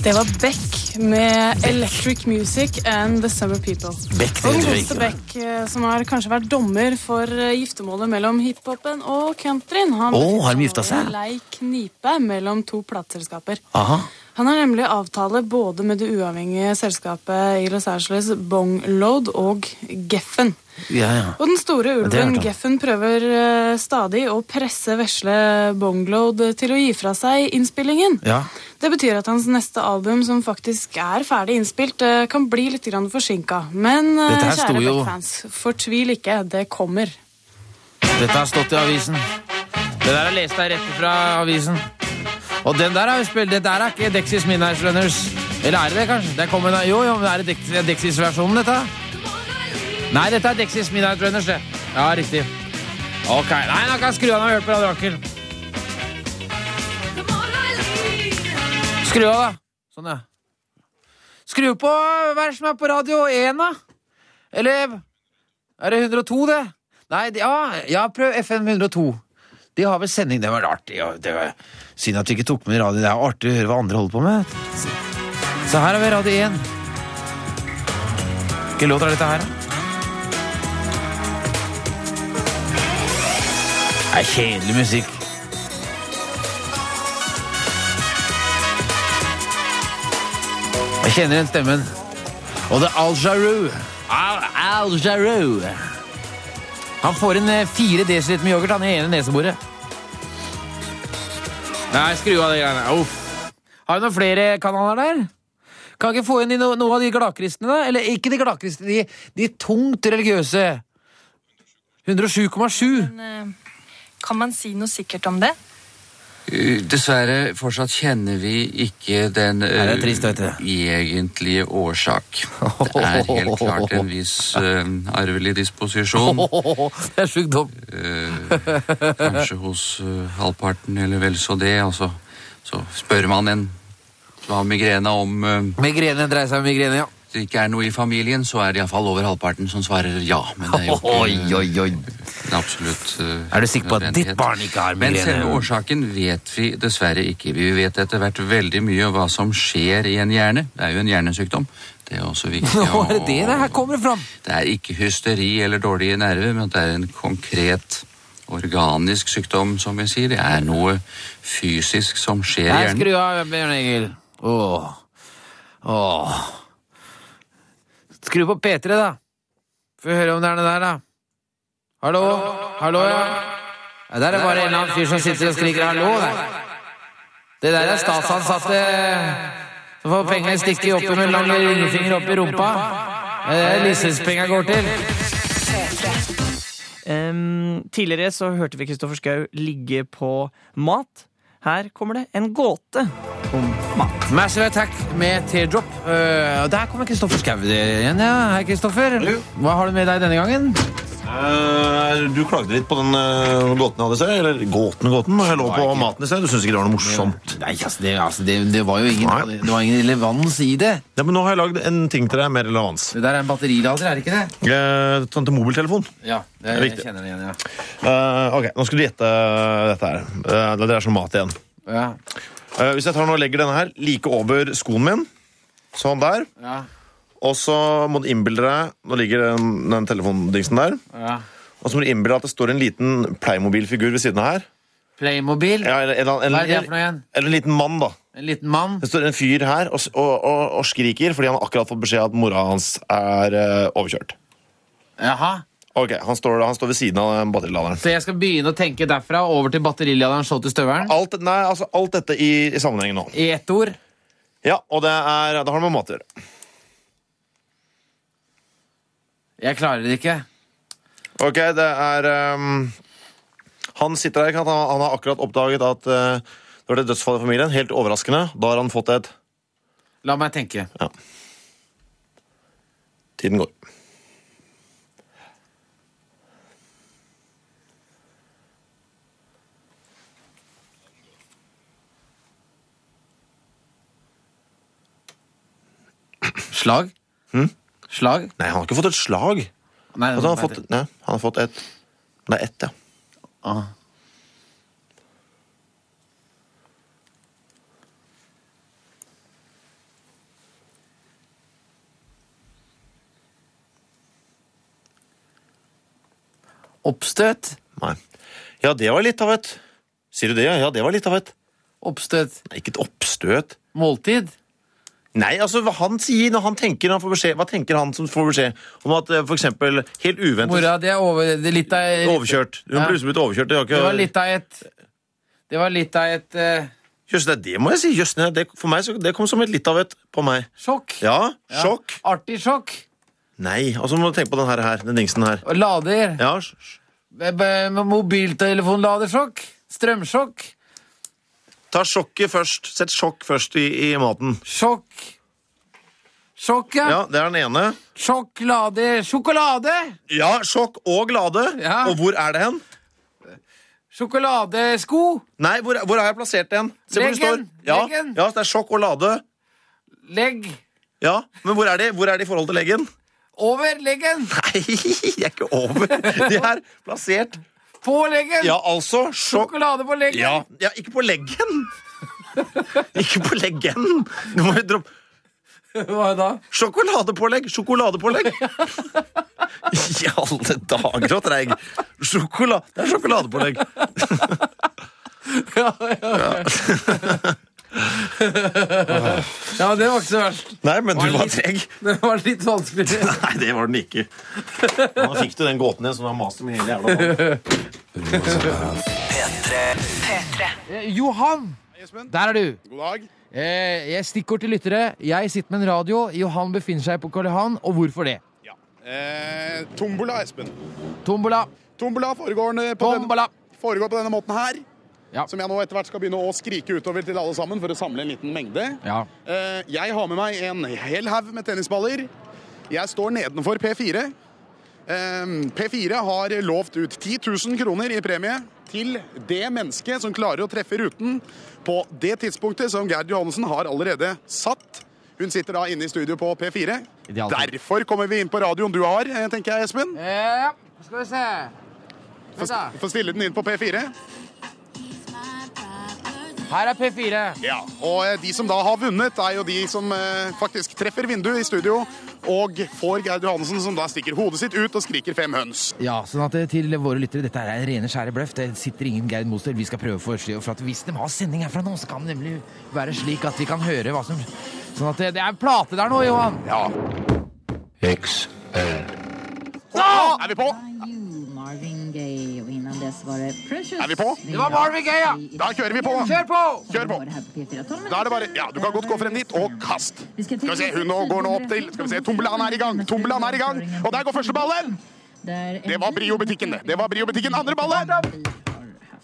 S13: Det var Beck
S16: med Electric Music and The Summer People.
S5: Beck, det
S16: Håkon
S5: tror jeg
S16: Holste
S5: ikke.
S16: Beck, eh, som har kanskje vært dommer for eh, giftermålet mellom hiphopen og countryen. Han
S5: Å, har de gifta seg?
S16: en Lei knipe mellom to plateselskaper.
S5: Aha.
S16: Han har nemlig avtale både med det uavhengige selskapet i Los Angeles, Bongload, og Geffen.
S5: Ja, ja.
S16: Og den store
S5: Ja, det har jeg hørt
S16: ulven
S5: om.
S16: Geffen prøver eh, stadig å presse vesle Bongload til å gi fra seg innspillingen.
S5: Ja.
S16: Det betyr at hans neste album, som faktisk er ferdig innspilt, eh, kan bli litt grann forsinka. Men eh,
S4: Dette her sto
S16: kjære
S4: jo-
S16: Beck-fans, fortvil ikke, det kommer.
S4: Dette har stått i avisen. Det der har lest deg rett fra avisen. Og den der har vi spilt. Det der er ikke Dexys Midnight Runners. Eller er det det, kanskje? Det kommer, en- jo, jo, men er det Dex- Dexys-versjonen, dette? Nei, dette er Dexys Midnight Runners, det. Ja, riktig. Ok, nei, da kan jeg skru av når jeg hører på Radio Rakel. Skru av, da. Sånn, ja. Skru på hva er det som er på Radio 1, da? Eller er det 102, det? Nei, de, ja, ja, prøv FM 102. De har vel sending. Det var artig. ja, Det var, synd at vi ikke tok med radio. Det er jo artig å høre hva andre holder på med. Så her har vi Radio 1. Hvilken låt er dette her, da? Det er kjedelig musikk. Jeg kjenner igjen stemmen. Og det er Al Jarreau. Al, Al Jarreau. Han får en eh, fire desiliter med yoghurt han i ene neseboret. Nei, skru av de greiene. Uff. Har vi noen flere kanaler der? Kan ikke få inn de, no, noen av de gladkristne, da? Eller ikke de gladkristne, de, de tungt religiøse. 107,7.
S17: Men, eh, Kan man si noe sikkert om det?
S18: Eh, Dessverre, fortsatt kjenner vi ikke den
S4: det er
S18: eh,
S4: trist, vet du.
S18: egentlige årsak. Det er helt klart en viss eh, arvelig disposisjon.
S4: <laughs> Det er sjukdom.
S18: Eh, kanskje hos eh, halvparten, eller vel så det. Og så, så spør man en som har migrene om eh,
S4: Migrene dreier seg om migrene, ja.
S18: det ikke er noe i familien, så er det iallfall over halvparten som svarer ja.
S4: <laughs>
S18: Men det er jo ikke
S4: Oi, oi, oi.
S18: en absolutt eh,
S4: Er du sikker på at ditt
S18: nødvendighet.
S4: barn ikke har
S18: Men
S4: migrene?
S18: selve årsaken vet vi dessverre ikke. Vi vet etter hvert veldig mye om hva som skjer i en hjerne. Det er jo en hjernesykdom. Det er også
S4: <laughs>
S18: viktig.
S4: Nå er det
S18: å-
S4: det det her kommer fram.
S18: det er ikke hysteri eller dårlige nerver, men det er en konkret organisk sykdom, som vi sier. Det er noe fysisk som skjer i
S4: Nei,
S18: hjernen.
S4: skru av, Bjørn Egil. Åh. Åh. Skru på P3, da. Få høre om det er noe der, da. Hallo? Hallo, ja. ja der er bare en eller annen fyr som sitter og skriker 'hallo', der. Det der er statsansatte som får pengene stikket opp med lang ringfinger opp i rumpa. Det er det lisenspenga går til.
S3: Em, tidligere så hørte vi Kristoffer Schau ligge på mat. Her kommer det en gåte om mat.
S4: Massive Attack med Teardrop. Eh, Og der kommer Kristoffer Schau igjen, ja. Hei, Kristoffer. Hva har du med deg denne gangen?
S8: Eh, du klagde litt på den eh, gåten jeg hadde i sted. Eller gåten, gåten. Jeg lå på maten i sted. Du syns ikke det var noe morsomt?
S4: Nei, altså, det, altså, det, det var jo ingen, det var ingen relevans i det.
S8: Ja, Men nå har jeg lagd en ting til deg med relevans.
S4: Det der er en batterilader, er det ikke det?
S8: Eh, sånn til mobiltelefon.
S4: Ja, det,
S8: Det er
S4: jeg
S8: riktig.
S4: kjenner det igjen, ja.
S8: Eh, ok, nå skal du gjette dette her. Eh, det dreier seg om mat igjen.
S4: ja.
S8: Eh, hvis jeg tar nå og legger denne her like over skoen min, sånn der,
S4: Ja,
S8: og så må du innbille deg Nå ligger den, den telefondingsen der.
S4: ja.
S8: Og så må du innbille deg at det står en liten Playmobil-figur ved siden av her.
S4: Playmobil?
S8: Ja, eller, eller,
S4: Hva er det
S8: eller,
S4: for noe igjen?
S8: eller en liten mann, da.
S4: En liten mann?
S8: Det står en fyr her og, s- og, og, og skriker fordi han har akkurat fått beskjed at mora hans er eh, overkjørt.
S4: Jaha.
S8: Ok, han står, han står ved siden av den batteriladeren.
S4: Så jeg skal begynne å tenke derfra over til batteriladeren, så til støvelen?
S8: Alt, nei, altså, alt dette i, i sammenhengen nå.
S4: I ett ord?
S8: Ja, og det, er, det har noe med mat å gjøre.
S4: Jeg klarer det ikke.
S8: Ok, det er ehm, Han sitter der, ikke sant? han, han har akkurat oppdaget at eh, det var det dødsfall i familien. Helt overraskende. Da har han fått et
S4: La meg tenke.
S8: Tiden går.
S4: Slag? Slag?
S8: Hm? Nei, han har ikke fått et slag.
S4: Nei,
S8: altså, han, har
S4: nei,
S8: fått, nei, han har fått et Det er ett, ja.
S4: Ah. Oppstøt?
S8: Nei. Ja, det var litt av et Sier du det, ja? Ja, det var litt av et
S4: Oppstøt?
S8: Nei, ikke et oppstøt.
S4: Måltid?
S8: Nei, altså hva han sier når han tenker når han får beskjed Hva tenker han som får beskjed om at eh, for eksempel helt uventet
S4: Mora, det er over, det er litt av
S8: Overkjørt. Hun
S4: Ja.
S8: plutselig blitt overkjørt. Det var
S4: Det
S8: ikke
S4: var litt av et Det var litt av et eh,
S8: Jøss, det, det må jeg si. Jøss, nei, det, for meg, så, det kom som et litt av et på meg.
S4: sjokk.
S8: Ja,
S4: Ja.
S8: sjokk.
S4: Artig sjokk.
S8: Nei, altså må du tenke på den her, her den dingsen her.
S4: Og Lader.
S8: Ja, s- s-
S4: Be- be- Mobiltelefonladersjokk. Strømsjokk.
S8: ta sjokket først. Sett sjokk først i, i maten.
S4: Sjokk. Sjokk, ja.
S8: Ja, det er den ene.
S4: Sjokk, lader, sjokolade!
S8: Ja, sjokk og glade.
S4: Ja.
S8: Og hvor er det hen?
S4: Sjokoladesko!
S8: Nei, hvor, hvor har jeg plassert den? Se hvor det står.
S4: Leggen,
S8: Ja,
S4: leggen.
S8: ja, så det er sjokk og lade.
S4: Legg.
S8: Ja, men hvor er de? Hvor er de i forhold til leggen?
S4: Over leggen!
S8: <laughs> Nei, de er ikke over. De er plassert.
S4: På leggen!
S8: Ja, altså. Sjokk.
S4: Sjokolade på leggen!
S8: Ja, ja, ikke på leggen. Ikke på leggen. Nå må vi droppe
S4: Hva da?
S8: Sjokoladepålegg! Sjokoladepålegg! <laughs> I alle dager og treig! Sjokola... Det er sjokoladepålegg.
S4: Ja, ja, ja, men det var ikke så verst.
S8: Nei, men du
S4: Var
S8: var
S4: litt-
S8: treg.
S4: Det var litt vanskelig.
S8: <laughs> Nei, det var den ikke. Nå fikk du den gåten din som du har mast om i hele jævla
S4: <laughs> Eh, Johan, der er du.
S19: God dag.
S4: Eh, jeg stikkord til lyttere. Jeg sitter med en radio. Johan befinner seg på Karl Johan, og hvorfor det?
S19: Eh, tombola, Espen.
S4: Tombola.
S19: Tombola foregår eh, på, Denne, foregår på denne måten her. Som jeg nå etter hvert skal begynne å skrike utover til alle sammen for å samle en liten mengde.
S4: Ja.
S19: Eh, jeg har med meg en hel haug med tennisballer. Jeg står nedenfor P4. Eh, P4 har lovt ut 10 000 kroner i premie til det mennesket som klarer å treffe ruten på det tidspunktet som Gerd Johannessen har allerede satt. Hun sitter da inne i studio på P4.
S4: Idealt.
S19: Derfor kommer vi inn på radioen du har, eh, tenker jeg, Espen.
S4: Ja, skal vi se.
S19: Få s- Få stille den inn på P4.
S4: Her er P4.
S19: Ja, og eh, de som da har vunnet, er jo de som eh, faktisk treffer vinduet i studio og får Gerd Johansen, som da stikker hodet sitt ut og skriker fem høns.
S4: Ja, sånn at eh, til våre lyttere, dette er rene skjære bløff. Det sitter ingen Geir Moster. Vi skal prøve å forstå, for at hvis de har sending herfra nå, så kan det nemlig være slik at vi kan høre hva som Sånn at det, det er en plate der nå, Johan.
S19: Ja.
S4: Nå
S19: er vi på!
S20: Marvin Gaye, og innan dess var det Precious.
S19: Er vi på?
S4: Det var Marvin Gaye, ja.
S19: Da kjører vi på.
S4: Kjør på!
S19: Kjør på. Da er det bare Ja, du kan godt gå frem dit og kast. Skal vi se, hun nå går nå opp til Skal vi se, Tombelaen er i gang. Tombelaen er i gang. Og der går første ballen! Det var Brio-butikken, det. Det var Brio-butikken. Andre ballen!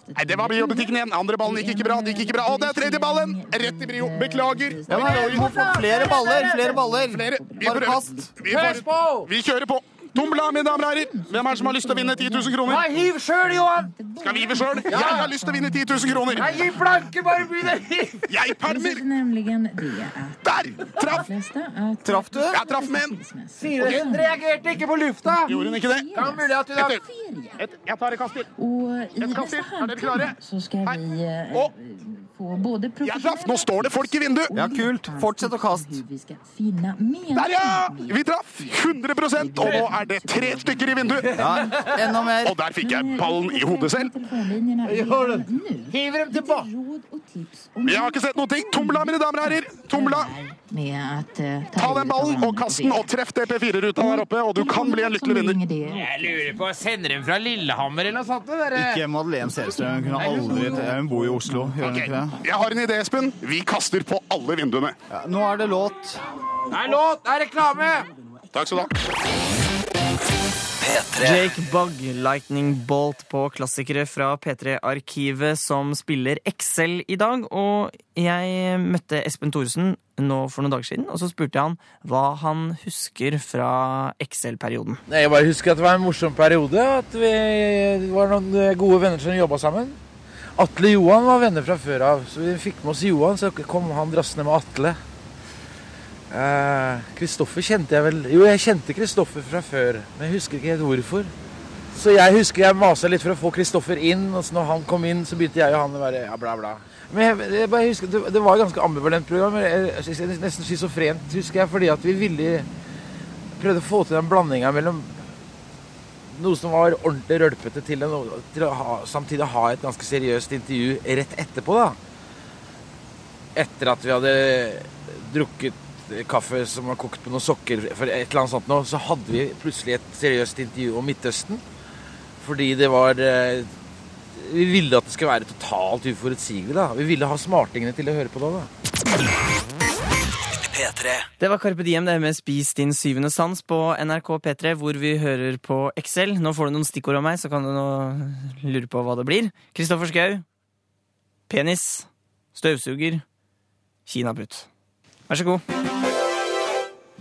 S19: Nei, det var Brio-butikken igjen. Andre ballen gikk ikke bra. Det gikk ikke bra. Og det er tredje ballen! Rett i Brio. Beklager.
S5: Ja, men vi må få flere baller, flere baller.
S19: Vi
S5: Bare
S19: prøver.
S5: kast.
S19: Vi, får, vi kjører på. Tombla, mine damer og herrer. Hvem er det som har lyst til å vinne 10 000 kroner?
S4: Nei, hiv sjøl, Johan!
S19: Skal vi hive sjøl?
S4: Ja.
S19: Jeg har lyst til å vinne 10 000 kroner.
S4: Nei, gi blanke, bare begynn å hive!
S19: Jeg permer! Der! Traff!
S5: Traff du?
S19: Jeg traff med en.
S4: Sier du, Hun reagerte ikke på lufta.
S19: Gjorde hun ikke det?
S4: Kan mulig at hun har
S19: Et- et- Jeg tar et kast til. Et kast til. Er dere klare?
S20: Så skal vi eh, få både
S19: Jeg traff! Nå står det folk i vinduet. Ja, kult. Fortsett å kaste.
S20: finne mer
S19: Der, ja! Vi traff 100 og nå er det tre stykker i vinduet.
S20: Ja, enda mer.
S19: Og der fikk jeg ballen i hodet selv.
S20: Telefonlinjene er
S19: Gjør det.
S20: nå.
S4: Hiver dem tilbake!
S20: Råd og tips om
S19: Jeg har ikke sett noen ting. Tomla, mine damer og herrer. Tomla.
S20: med at eh,
S19: Ta den ballen og kast den, og treff det P4-ruta der oppe, og du kan bli en lykkelig vinner.
S4: Jeg lurer på, Sender dem fra Lillehammer eller noe sånt? det Dere?
S5: Ikke Madeleine Selstrøm. Hun, kunne aldri, hun bor i Oslo. Gjør hun ikke det?
S19: Jeg har en idé, Espen. Vi kaster på alle vinduene.
S5: Nå er det låt.
S4: Det er låt, det er reklame!
S19: Takk skal du ha.
S3: Jake Bug, Lightning Bolt på klassikere fra P3-arkivet, som spiller Excel i dag. Og jeg møtte Espen Thoresen nå for noen dager siden, og så spurte jeg han hva han husker fra Excel-perioden.
S21: Nei, Jeg bare husker at det var en morsom periode. At vi det var noen eh, gode venner som jobba sammen. Atle Johan var venner fra før av, så vi fikk med oss Johan. Så kom han drassende med Atle. Eh, Kristoffer kjente jeg vel Jo, jeg kjente Kristoffer fra før, men jeg husker ikke helt hvorfor. Så jeg husker jeg masa litt for å få Kristoffer inn, og så når han kom inn, så begynte jeg og han å være ja, bla, bla. Men jeg, jeg bare husker, det, det var et ganske ambivalent program, jeg- jeg- nesten schizofrent, husker jeg, fordi at vi ville prøvde å få til den blandinga mellom
S2: noe som var ordentlig rølpete til, en, til å ha, samtidig ha et ganske seriøst intervju rett etterpå, da. Etter at vi hadde drukket kaffe som var kokt på noen sokker, for et eller annet sånt nå, så hadde vi plutselig et seriøst intervju om Midtøsten. Fordi det var eh, Vi ville at det skulle være totalt uforutsigelig, da. Vi ville ha smartingene til å høre på det, da.
S5: P3.
S3: Det var Carpe Diem det med Spis din syvende sans på NRK P3, hvor vi hører på Excel. Nå får du noen stikkord av meg, så kan du nå lure på hva det blir. Kristoffer Schau. Penis. Støvsuger. Kinaputt. Vær så god.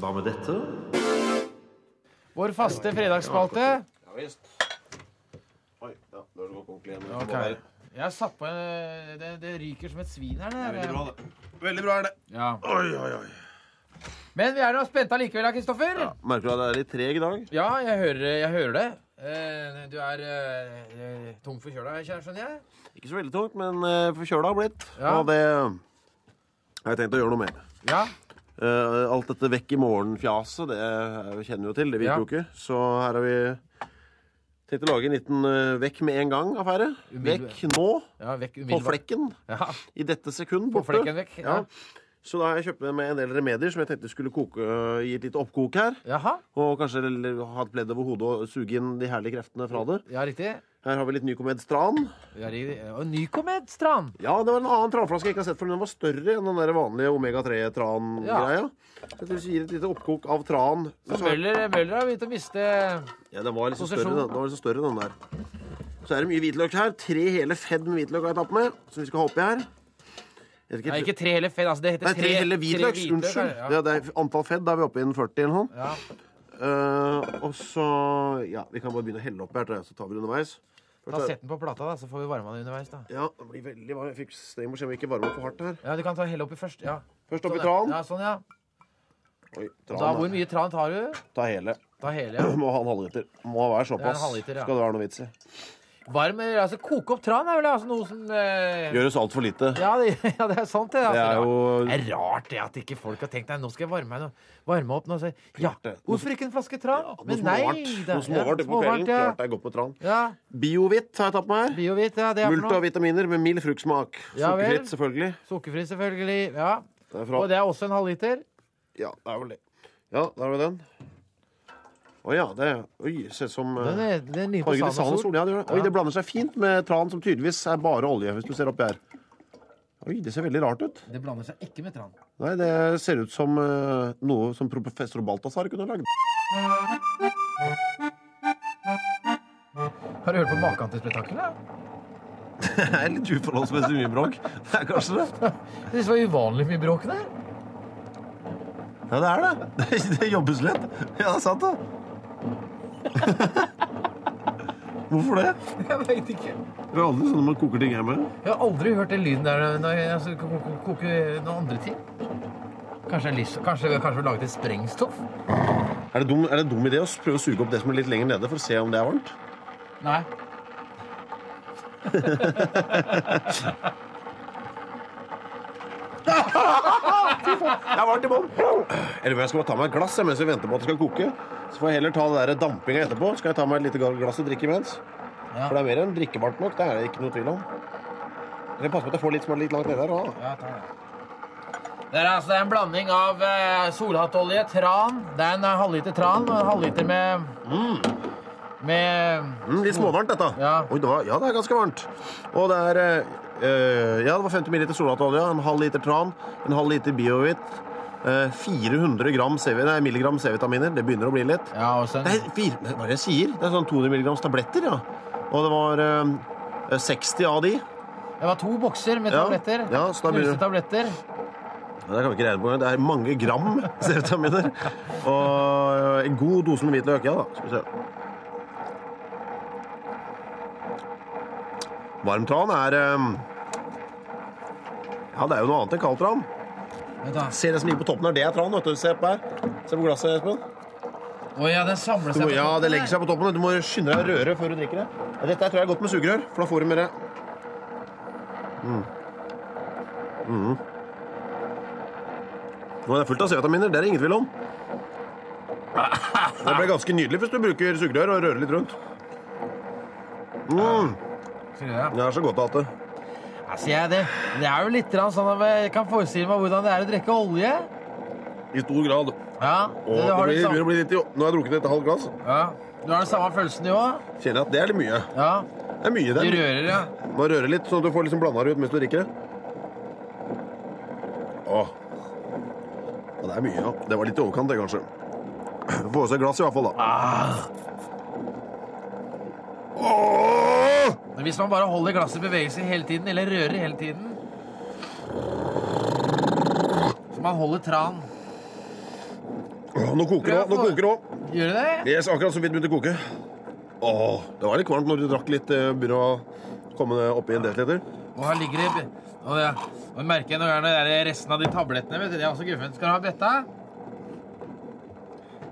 S8: Hva med dette?
S4: Vår faste fredagsspalte.
S8: Oi, ja, da er det godt ordentlig igjen.
S4: Ok. Jeg har satt på en det, det ryker som et svin her. Det.
S8: Veldig bra, det. Veldig bra er det. Oi, oi, oi.
S4: Men vi er nå spente allikevel, da, Kristoffer. Ja.
S8: Merker du at jeg er litt treg i dag?
S4: jeg hører, jeg hører det. Eh, du er eh, tom for kjøla, kjære, skjønner jeg?
S8: Ikke så veldig tungt, men eh, forkjøla har blitt.
S4: Ja.
S8: Og det har jeg tenkt å gjøre noe med.
S4: Ja.
S8: Eh, alt dette vekk i morgen-fjaset, det eh, kjenner vi jo til. Det virker
S4: Ja.
S8: jo ikke. Så her har vi tenkt å lage en liten eh, vekk med en gang-affære.
S4: Umiddelbart.
S8: Vekk nå.
S4: Ja, vekk
S8: På
S4: umiddelbart.
S8: flekken. I dette sekund.
S4: På
S8: borte.
S4: flekken vekk, ja.
S8: Så da har jeg kjøpt med meg en del remedier som jeg tenkte skulle koke, øh, gi et lite oppkok her. Og kanskje l- ha et pledd over hodet og suge inn de herlige kreftene fra det.
S4: Ja, riktig.
S8: Her har vi litt Nycomed Stran.
S4: Ja, riktig. Og Nycomed Stran?
S8: Ja, det var en annen tranflaske jeg ikke har sett før. men Den var større enn den der vanlige omega-3-tran-greia. Dette gir et lite oppkok av tran.
S4: Så Møller, eh, Møller har begynt å miste
S8: Ja, den var liksom større,
S4: Konsesjon.
S8: den, den var liksom større, den der. Så er det mye hvitløk her. Tre hele fedd med hvitløk har jeg tatt med, som vi skal ha oppi her. Jeg vet
S4: Nei, ikke tre hele fed. Altså, det heter
S8: Nei, tre hele hvitløk.
S4: tre hvitløk,
S8: Unnskyld.
S4: ja.
S8: Ja. Det er antall fedd. Da er vi oppe i en 40 eller noe.
S4: Ja.
S8: Eh, og så Ja, vi kan bare begynne å helle oppi her, tror jeg, så tar vi det underveis.
S4: Da Sett den på plata, da, så får vi varma den underveis. da.
S8: Ja, det blir veldig varm. Jeg fikk steg må se om vi ikke varmer opp for hardt her.
S4: Ja, Du kan ta helle oppi først.
S19: <laughs>
S4: ja.
S8: Først oppi
S4: Sånn,
S8: tran.
S4: Ja, sånn, ja.
S8: Oi, tran,
S4: Da,
S8: da.
S4: hvor mye tran tar du?
S8: Ta hele.
S4: Ta hele, ja.
S8: Må ha en halvliter. Må
S4: Det er
S8: være
S4: en
S8: såpass.
S4: halvliter, ja.
S8: Skal det være noe vits i.
S4: Varm, eller, altså Koke opp tran er vel altså noe som eh,
S8: Gjøres altfor lite.
S4: ja det, <laughs> ja, det er sant, det.
S8: Det
S4: Altså,
S8: er jo
S4: Det er rart det at ikke folk har tenkt Nei, nå skal jeg varme meg nå. Varme opp nå. Så, ja, hvorfor ikke en flaske tran?
S8: Noe
S4: Men nei
S8: småvart.
S4: da.
S8: Noe småvart på kvelden.
S4: ja.
S8: Klart det er godt med tran.
S4: Ja,
S8: Biohvitt har jeg tatt med her.
S4: Biohvitt, ja, det er for
S8: Multa
S4: noe.
S8: og vitaminer med mild fruktsmak.
S4: Ja vel.
S8: Sukkerfritt, selvfølgelig.
S4: Sukkerfri, selvfølgelig. Ja.
S8: Det er fra-
S4: Og det er også en halvliter.
S8: Ja, det er vel det. Ja, der har vi den. Å ja, det er Oi, se som
S4: Den
S8: eh,
S4: er- den ligner på
S8: fargen i
S4: sand og sol.
S8: Ja, det gjør det. Oi,
S4: Ja.
S8: det blander seg fint med tran, som tydeligvis er bare olje, hvis du ser oppi her. Oi, det ser veldig rart ut.
S4: Det blander seg ikke med tran.
S8: Nei, det ser ut som eh, noe som professor Balthazar kunne <laughs> lagd.
S4: Har du hørt på maken til spetakkel? da?
S8: Det er litt uforholdsmessig mye bråk. Det er kanskje det.
S4: Det var uvanlig mye bråk der.
S8: Ja, det er det. Det jobbes litt. Ja, det er sant, det. <laughs> Hvorfor det?
S4: <laughs> Jeg veit ikke.
S8: Det er aldri sånn når man koker ting hjemme.
S4: Jeg har aldri hørt den lyden der når jeg altså, ko- ko- koker noen andre ting. Kanskje, en lis- kanskje, kanskje vi laget et sprengstoff?
S8: Er det, dum, er det dum idé å s- prøve å suge opp det som er litt lenger nede, for å se om det er varmt?
S4: Nei.
S8: <laughs> Jeg er varmt i bånn. Eller jeg skal bare ta meg et glass jeg, mens vi venter på at det skal koke. Så får jeg heller ta det der dampinga etterpå. Skal jeg ta meg et lite glass og drikke imens?
S4: Ja.
S8: For det er mer enn drikkevarmt nok. Det er det ikke noe tvil om. Eller pass på at jeg får litt som er litt langt nede her òg.
S4: Ja, ta det. Det er altså en blanding av eh, solhattolje, tran Det er en eh, halvliter tran og en halvliter med Med
S8: Mm, litt småvarmt, dette. Ja. Oi, det var, ja, det er ganske varmt. Og det er eh, eh, Ja, det var 50 ml solhattolje, en halv liter tran, en halv liter biohvitt. eh, 400 gram CV, nei, milligram C-vitaminer. Det begynner å bli litt. Det er fire, hva er det jeg sier? Det er sånn 200 milligrams tabletter, ja. Og det var eh, 60 av de.
S4: Det var to bokser med
S8: Ja,
S4: tabletter.
S8: ja, så da blir
S4: Knuste
S8: det-
S4: tabletter.
S8: Ja, Det kan vi ikke regne på engang. Det er mange gram C-vitaminer. Og eh, en god dose med hvitløk. Ja da, skal vi se. Varm tran er eh, Ja, det er jo noe annet enn kald tran. Se det som ligger på toppen her. Det er tran. vet du. Se på her. Se på glasset, Espen.
S4: Å ja, den samler
S8: Du
S4: seg
S8: må,
S4: på
S8: ja,
S4: toppen
S8: det legger
S4: der.
S8: seg på toppen. Du må skynde deg å røre før du drikker det. Ja, Dette her tror jeg er godt med sugerør, for da får du mer mm. Mhm. Nå er det fullt av C-vitaminer, det er det ingen tvil om. Det blir ganske nydelig hvis du bruker sugerør og rører litt rundt. Mm. Det er så godt at det
S4: Altså, jeg, det, det er jo litt grann sånn at jeg kan forestille meg hvordan det er å drikke olje.
S8: I stor grad.
S4: Ja,
S8: Og
S4: det
S8: det
S4: har
S8: blir,
S4: det samme.
S8: begynner å bli litt, i- nå har jeg drukket et halvt glass.
S4: Ja, Du har den samme følelsen, du òg?
S8: Kjenner jeg at det er litt mye.
S4: Ja.
S8: Det er mye, det.
S4: Du rører, ja.
S8: Må røre litt, sånn at du får liksom blanda det ut mens du drikker det. Åh. Ja, det er mye, ja. Det var litt i overkant, det, kanskje. Få seg et glass, i hvert fall, da.
S4: Ah. Men hvis man bare holder glasset i bevegelse hele tiden, eller rører hele tiden Så man holder tran.
S8: Åh, nå koker det òg. Nå koker det òg.
S4: Gjør det det?
S8: Yes, akkurat så vidt begynte å koke. Åh, det var litt kvalmt når du drakk litt. eh, Begynner å komme det oppi en desiliter.
S4: Og her ligger det og det, og det merker jeg noen ganger når det er resten av de tablettene. vet du, Det er også guffent. Skal du ha bøtta?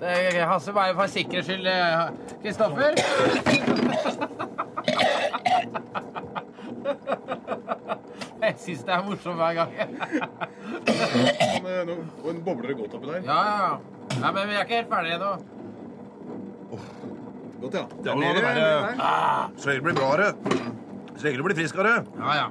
S4: Det er, Hasse, bare for sikkerhets skyld eh, Kristoffer? <laughs> Jeg syns det er morsomt hver gang.
S19: Men, eh, nå- Og en bobler det godt oppi der.
S4: Ja, ja, ja. Nei, men vi er ikke helt ferdige ennå.
S19: Godt, ja.
S8: Ja, nå er det bare- Ah, Så lenge du blir bra, du. Så lenge du blir frisk av det.
S4: Ja, ja.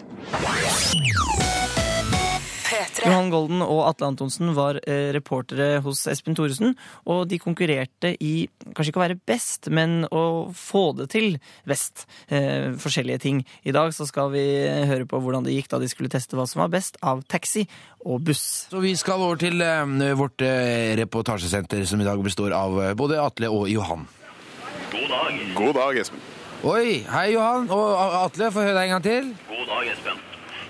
S3: Johan Golden og Atle Antonsen var eh, reportere hos Espen Thoresen, og de konkurrerte i kanskje ikke å være best, men å få det til best. Eh, forskjellige ting. I dag så skal vi eh, høre på hvordan det gikk da de skulle teste hva som var best av taxi og buss.
S4: Så vi skal over til eh, vårt eh, reportasjesenter, som i dag består av eh, både Atle og Johan.
S22: God dag.
S19: God dag, Espen.
S4: Oi, hei Johan og A- Atle, få høre deg en gang til.
S22: God dag, Espen.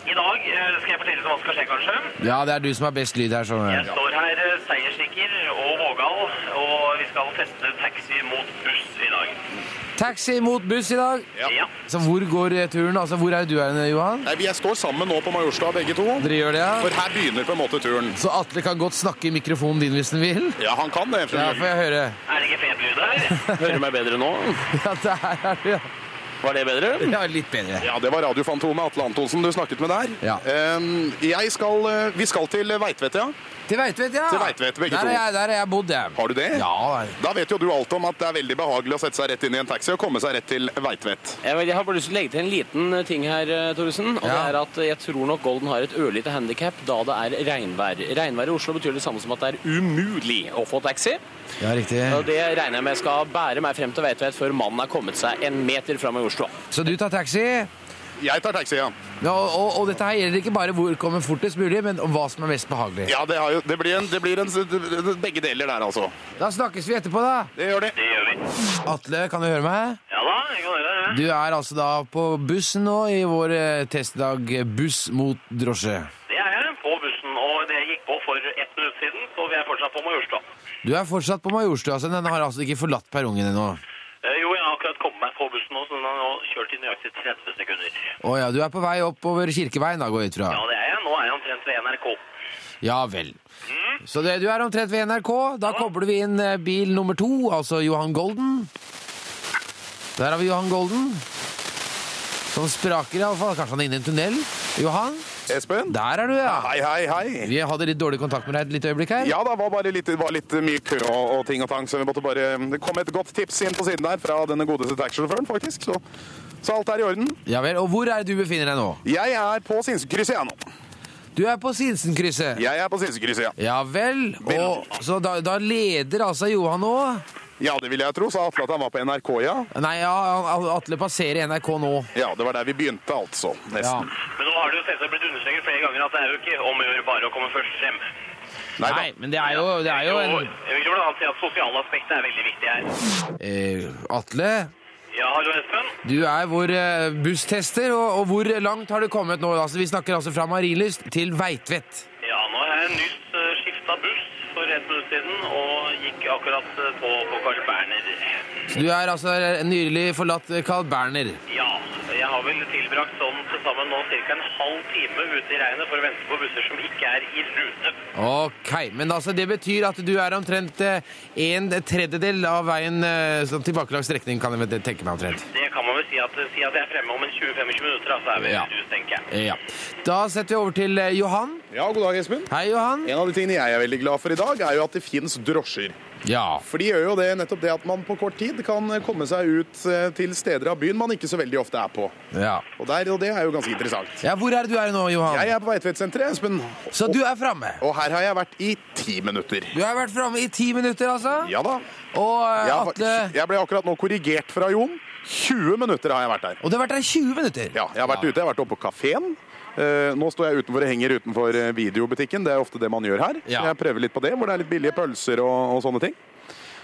S22: I dag eh, skal jeg fortelle hva som skal skje, kanskje.
S4: Ja, det er du som har best lyd her. Sånn.
S22: Jeg står her eh, seiersikker og vågal, og vi skal teste taxi mot buss i dag.
S4: Taxi mot buss i dag.
S22: Ja.
S4: Så hvor går eh, turen? Altså, hvor er du her, Johan?
S19: Nei, vi er- står sammen nå på Majorstua, begge to.
S4: Dere gjør det, ja?
S19: For her begynner på en måte turen.
S4: Så Atle kan godt snakke i mikrofonen din hvis han vil? <laughs>
S19: Ja, han kan det.
S4: Ja, får jeg høre.
S22: Er det ikke fet lyd her?
S4: <laughs>
S22: Hører du meg bedre nå?
S4: Ja, der er du, ja.
S22: Var det bedre?
S4: Ja, litt bedre.
S19: Ja, det var radiofantomet Atle Antonsen du snakket med der. Ehm, Jeg skal, eh, vi skal til Veitvet, ja.
S4: Til Veitvet, ja.
S19: Til Veitvet, begge
S4: der,
S19: to.
S4: er jeg, der er jeg bodd, jeg.
S19: Har du det?
S4: Ja.
S19: Da vet jo du alt om at det er veldig behagelig å sette seg rett inn i en taxi og komme seg rett til Veitvet.
S10: Jeg, vet, jeg har bare lyst til å legge til en liten ting her, eh, Thoresen. Og det er at eh, jeg tror nok Golden har et ørlite handikap da det er regnvær. Regnvær i Oslo betyr det samme som at det er umulig å få taxi.
S4: Ja, riktig.
S10: Og det regner jeg med skal bære meg frem til Veitvet før mannen er kommet seg en meter fram i Oslo.
S4: Så du tar taxi?
S19: Jeg tar
S10: <laughs>
S19: taxi, ja.
S4: Ja, og, og, og dette her gjelder ikke bare hvor kommer fortest mulig, men om hva som er mest behagelig.
S19: Ja, det, har jo, det blir, en, det blir en, begge deler der, altså.
S4: Da snakkes vi etterpå, da.
S19: Det gjør det.
S4: Atle, kan du høre meg?
S22: Ja da, jeg kan høre det.
S4: Du er altså da på bussen nå i vår eh, testdag eh, buss mot drosje.
S22: Det er jeg, på bussen, og det gikk på for ett minutt siden, så vi er fortsatt på Majorstua.
S4: Du er fortsatt på Majorstua, så den har altså ikke forlatt perrongen ennå.
S22: Eh, Jo, jeg har akkurat kommet meg på bussen nå, så den har nå kjørt i nøyaktig 30 sekunder.
S4: Å ja, du er på vei opp over Kirkeveien da, går jeg ut fra.
S22: Ja, det er jeg. Nå er jeg omtrent ved NRK.
S4: Ja vel. Så det, du er omtrent ved NRK. Da kobler vi inn eh, bil nummer to, altså Johan Golden. Der har vi Johan Golden. Som spraker iallfall. Kanskje han er inne i en tunnel? Johan?
S19: Espen?
S4: Der er du, ja.
S19: Hei, hei, hei.
S4: Vi hadde litt dårlig kontakt med deg et lite øyeblikk her.
S19: Ja, det var bare litt, det var litt mye kø og, og ting og tang, så vi måtte bare Det kom et godt tips inn på siden der fra denne godeste taxisjåføren, faktisk. Så, så alt er i orden.
S4: Ja vel, Og hvor er det du befinner deg nå?
S19: Jeg er på Sinsenkrysset, jeg nå.
S4: Du er på Sinsenkrysset.
S19: Jeg er på Sinsenkrysset, ja.
S4: Ja vel. Og, så da, da leder altså Johan nå?
S19: Ja, det vil jeg tro, sa Atle at han var på NRK, ja.
S4: Nei, ja, han- Atle passerer NRK nå.
S19: Ja, det var der vi begynte, altså. Nesten.
S22: Men nå har det jo selvsagt blitt understreket flere ganger at det er jo ikke om å gjøre bare å komme først frem.
S19: Nei,
S4: men det er jo, det er jo
S22: Og
S4: en
S22: jeg vil jo blant annet si at sosiale aspekter er veldig viktig her.
S4: eh, Atle,
S22: Ja, hallo Espen.
S4: du er vår eh, busstester, og, og hvor langt har du kommet nå? Altså, vi snakker altså fra Marienlyst til Veitvet.
S22: Ja, nå har jeg nyst skifta buss for ett minutt siden og gikk akkurat eh, på, på Carl Berner.
S4: Så du er altså nylig forlatt eh, Carl Berner.
S22: Ja, jeg har vel tilbrakt sånn til sammen nå cirka en halv time ute i regnet for å vente på busser som ikke er i rute.
S4: Ok, men altså det betyr at du er omtrent eh, en tredjedel av veien eh, sånn tilbakelagt strekning, kan jeg vel tenke meg omtrent.
S22: Det kan man vel si at, eh, si at jeg er fremme om en 20-25 minutter, da, så er vi
S4: Ja.
S22: i rus, tenker jeg.
S4: Eh, Ja. Da setter vi over til eh, Johan.
S19: Ja, god dag, Espen.
S4: Hei, Johan.
S19: En av de tingene jeg er veldig glad for i dag, er jo at det fins drosjer.
S4: Ja.
S19: For de gjør jo det nettopp det at man på kort tid kan komme seg ut eh, til steder av byen man ikke så veldig ofte er på.
S4: Ja.
S19: Og, der, og det er jo ganske interessant.
S4: ja, hvor er det du er nå, Johan?
S19: Jeg er på Veitvettsenteret, Espen.
S4: Så du er framme?
S19: Og her har jeg vært i ti minutter.
S4: Du har vært framme i ti minutter, altså?
S19: Ja da.
S4: Og eh,
S19: Jeg,
S4: Atle
S19: var- jeg ble akkurat nå korrigert fra Jon. 20 minutter har jeg vært der.
S4: Og du har vært der i 20 minutter?
S19: Ja, jeg har vært ute. Jeg har vært oppe på kafeen. Eh, nå står jeg utenfor og henger utenfor eh, videobutikken. Det er ofte det man gjør her. Jeg prøver litt på det, hvor det er litt billige pølser og, og sånne ting.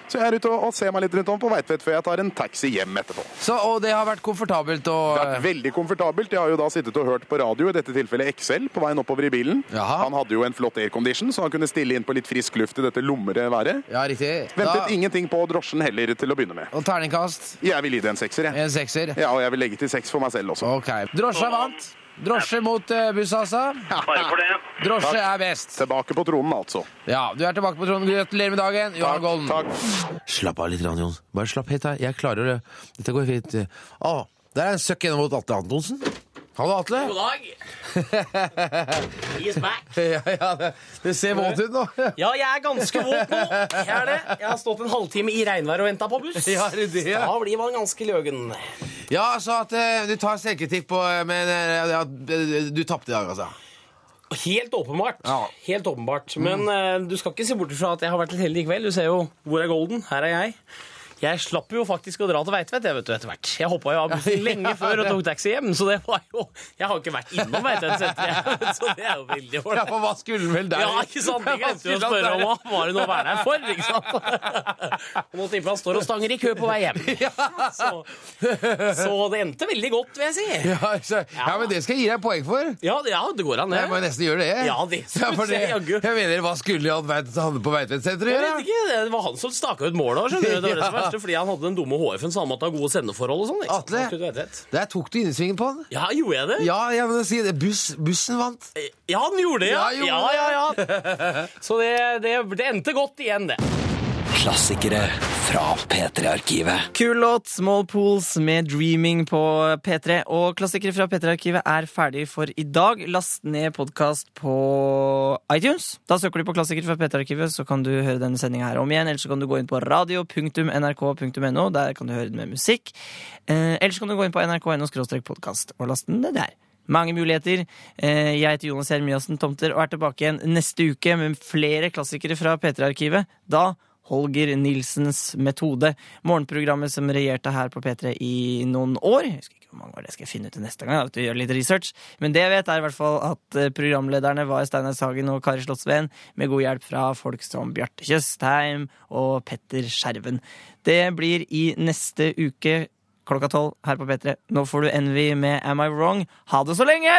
S19: Så jeg er ute og, og ser meg litt rundt om på Veitvet før jeg tar en taxi hjem etterpå.
S4: Så, og det har vært komfortabelt og
S19: Det har vært veldig komfortabelt. Jeg har jo da sittet og hørt på radio, i dette tilfellet XL, på veien oppover i bilen. Han hadde jo en flott aircondition, så han kunne stille inn på litt frisk luft i dette lumre været.
S4: Ja, riktig.
S19: Ventet
S4: Da-
S19: ingenting på drosjen heller til å begynne med.
S4: Og terningkast?
S19: Jeg vil gi det en sekser, jeg.
S4: En sekser?
S19: Ja, og jeg vil legge til seks for meg selv også.
S4: Drosja vant. Drosje mot eh, buss, altså. Drosje
S19: Takk.
S4: er best.
S19: Tilbake på tronen, altså.
S4: Ja, du er tilbake på tronen. Gratulerer med dagen, Johan Golden.
S9: Slapp av litt, grann, Jon.
S4: Bare slapp helt av. Jeg klarer det. Dette går fint. Å, der er en søkk gjennom mot Atle Antonsen. Hallo, Atle.
S10: God dag. He's back.
S4: <laughs> Ja, ja, det, det ser våt ut nå.
S10: Ja, jeg er ganske våt nå. Jeg er det. Jeg har stått en halvtime i regnvær og venta på buss.
S4: Ja, er det det?
S10: Da blir man ganske løgen.
S4: Ja, så at eh, du tar selvkritikk på eh, Men eh, at eh, du tapte i dag, altså.
S10: Helt
S4: <laughs>
S10: åpenbart. Helt åpenbart. Men eh, du skal ikke se bort fra at jeg har vært litt heldig i kveld. Du ser jo hvor er Golden? Her er jeg. Jeg slapp jo faktisk å dra til Veitvet jeg, vet du, etter hvert. Jeg hoppa jo av
S4: <laughs>
S10: bussen lenge før og tok taxi hjem, så det var jo Jeg har jo ikke vært innom Veitvet-senteret, så det er <laughs> jo veldig
S4: Ja, for hva skulle den vel der?
S10: Ja, ikke sant? Jeg
S4: <laughs> Hva
S10: glemte jo å
S4: skulle
S10: spørre
S4: han
S10: om
S4: der?
S10: hva var det noe å være der for, ikke sant? <laughs> Og nå tipper jeg han står og stanger i kø på vei hjem.
S4: <laughs>
S10: Så, så det endte veldig godt, vil jeg si.
S4: <laughs> Ja, så, ja, men det skal jeg gi deg poeng for.
S10: Ja, det går an, det.
S4: Jeg må nesten gjøre det.
S10: Ja, det
S4: <laughs> ja, for
S10: synes jeg, jaggu.
S4: jeg mener, hva skulle han veit- han på Veitvet-senteret
S10: Jeg
S4: gjøre?
S10: vet ikke, Det var han som staka ut målet. også, skjønner du. Det var det som
S4: <laughs> Ja.
S10: verste, fordi han hadde den dumme HF-en, så han måtte ha gode sendeforhold. og sånn. ikke sant? Han kunne vite det.
S4: Der tok du innesvingen på han.
S10: Ja, gjorde jeg det?
S4: Ja, jeg vil si det. Buss, bussen vant.
S10: Ja, han gjorde det, ja!
S4: Ja,
S10: ja,
S4: gjorde
S10: ja, ja. <laughs> Så det, det, det endte godt igjen, det.
S5: Klassikere fra P3-arkivet.
S3: Kul låt, Small Pools med Dreaming på P3. Og klassikere fra P3-arkivet er ferdig for i dag. Last ned podkast på iTunes. Da søker du på klassikere fra P3-arkivet, så kan du høre denne sendinga her om igjen. Eller så kan du gå inn på radio.nrk.no. Der kan du høre den med musikk. Eh, Eller så kan du gå inn på nrk.no podkast og laste den ned der. Mange muligheter. Eh, Jeg heter Jonas Jeremiassen Tomter og er tilbake igjen neste uke med flere klassikere fra P3-arkivet. Da Holger Nilsens metode. Morgenprogrammet som regjerte her på P3 i noen år. Jeg husker ikke hvor mange år det skal jeg finne ut til neste gang. Jeg vet, gjør litt research. Men det jeg vet, er i hvert fall at eh, programlederne var Steinar Sagen og Kari Slottsveen, med god hjelp fra folk som Bjarte Tjøstheim og Petter Skjerven. Det blir i neste uke klokka tolv her på P3. Nå får du Envy med Am I Wrong. Ha det så lenge!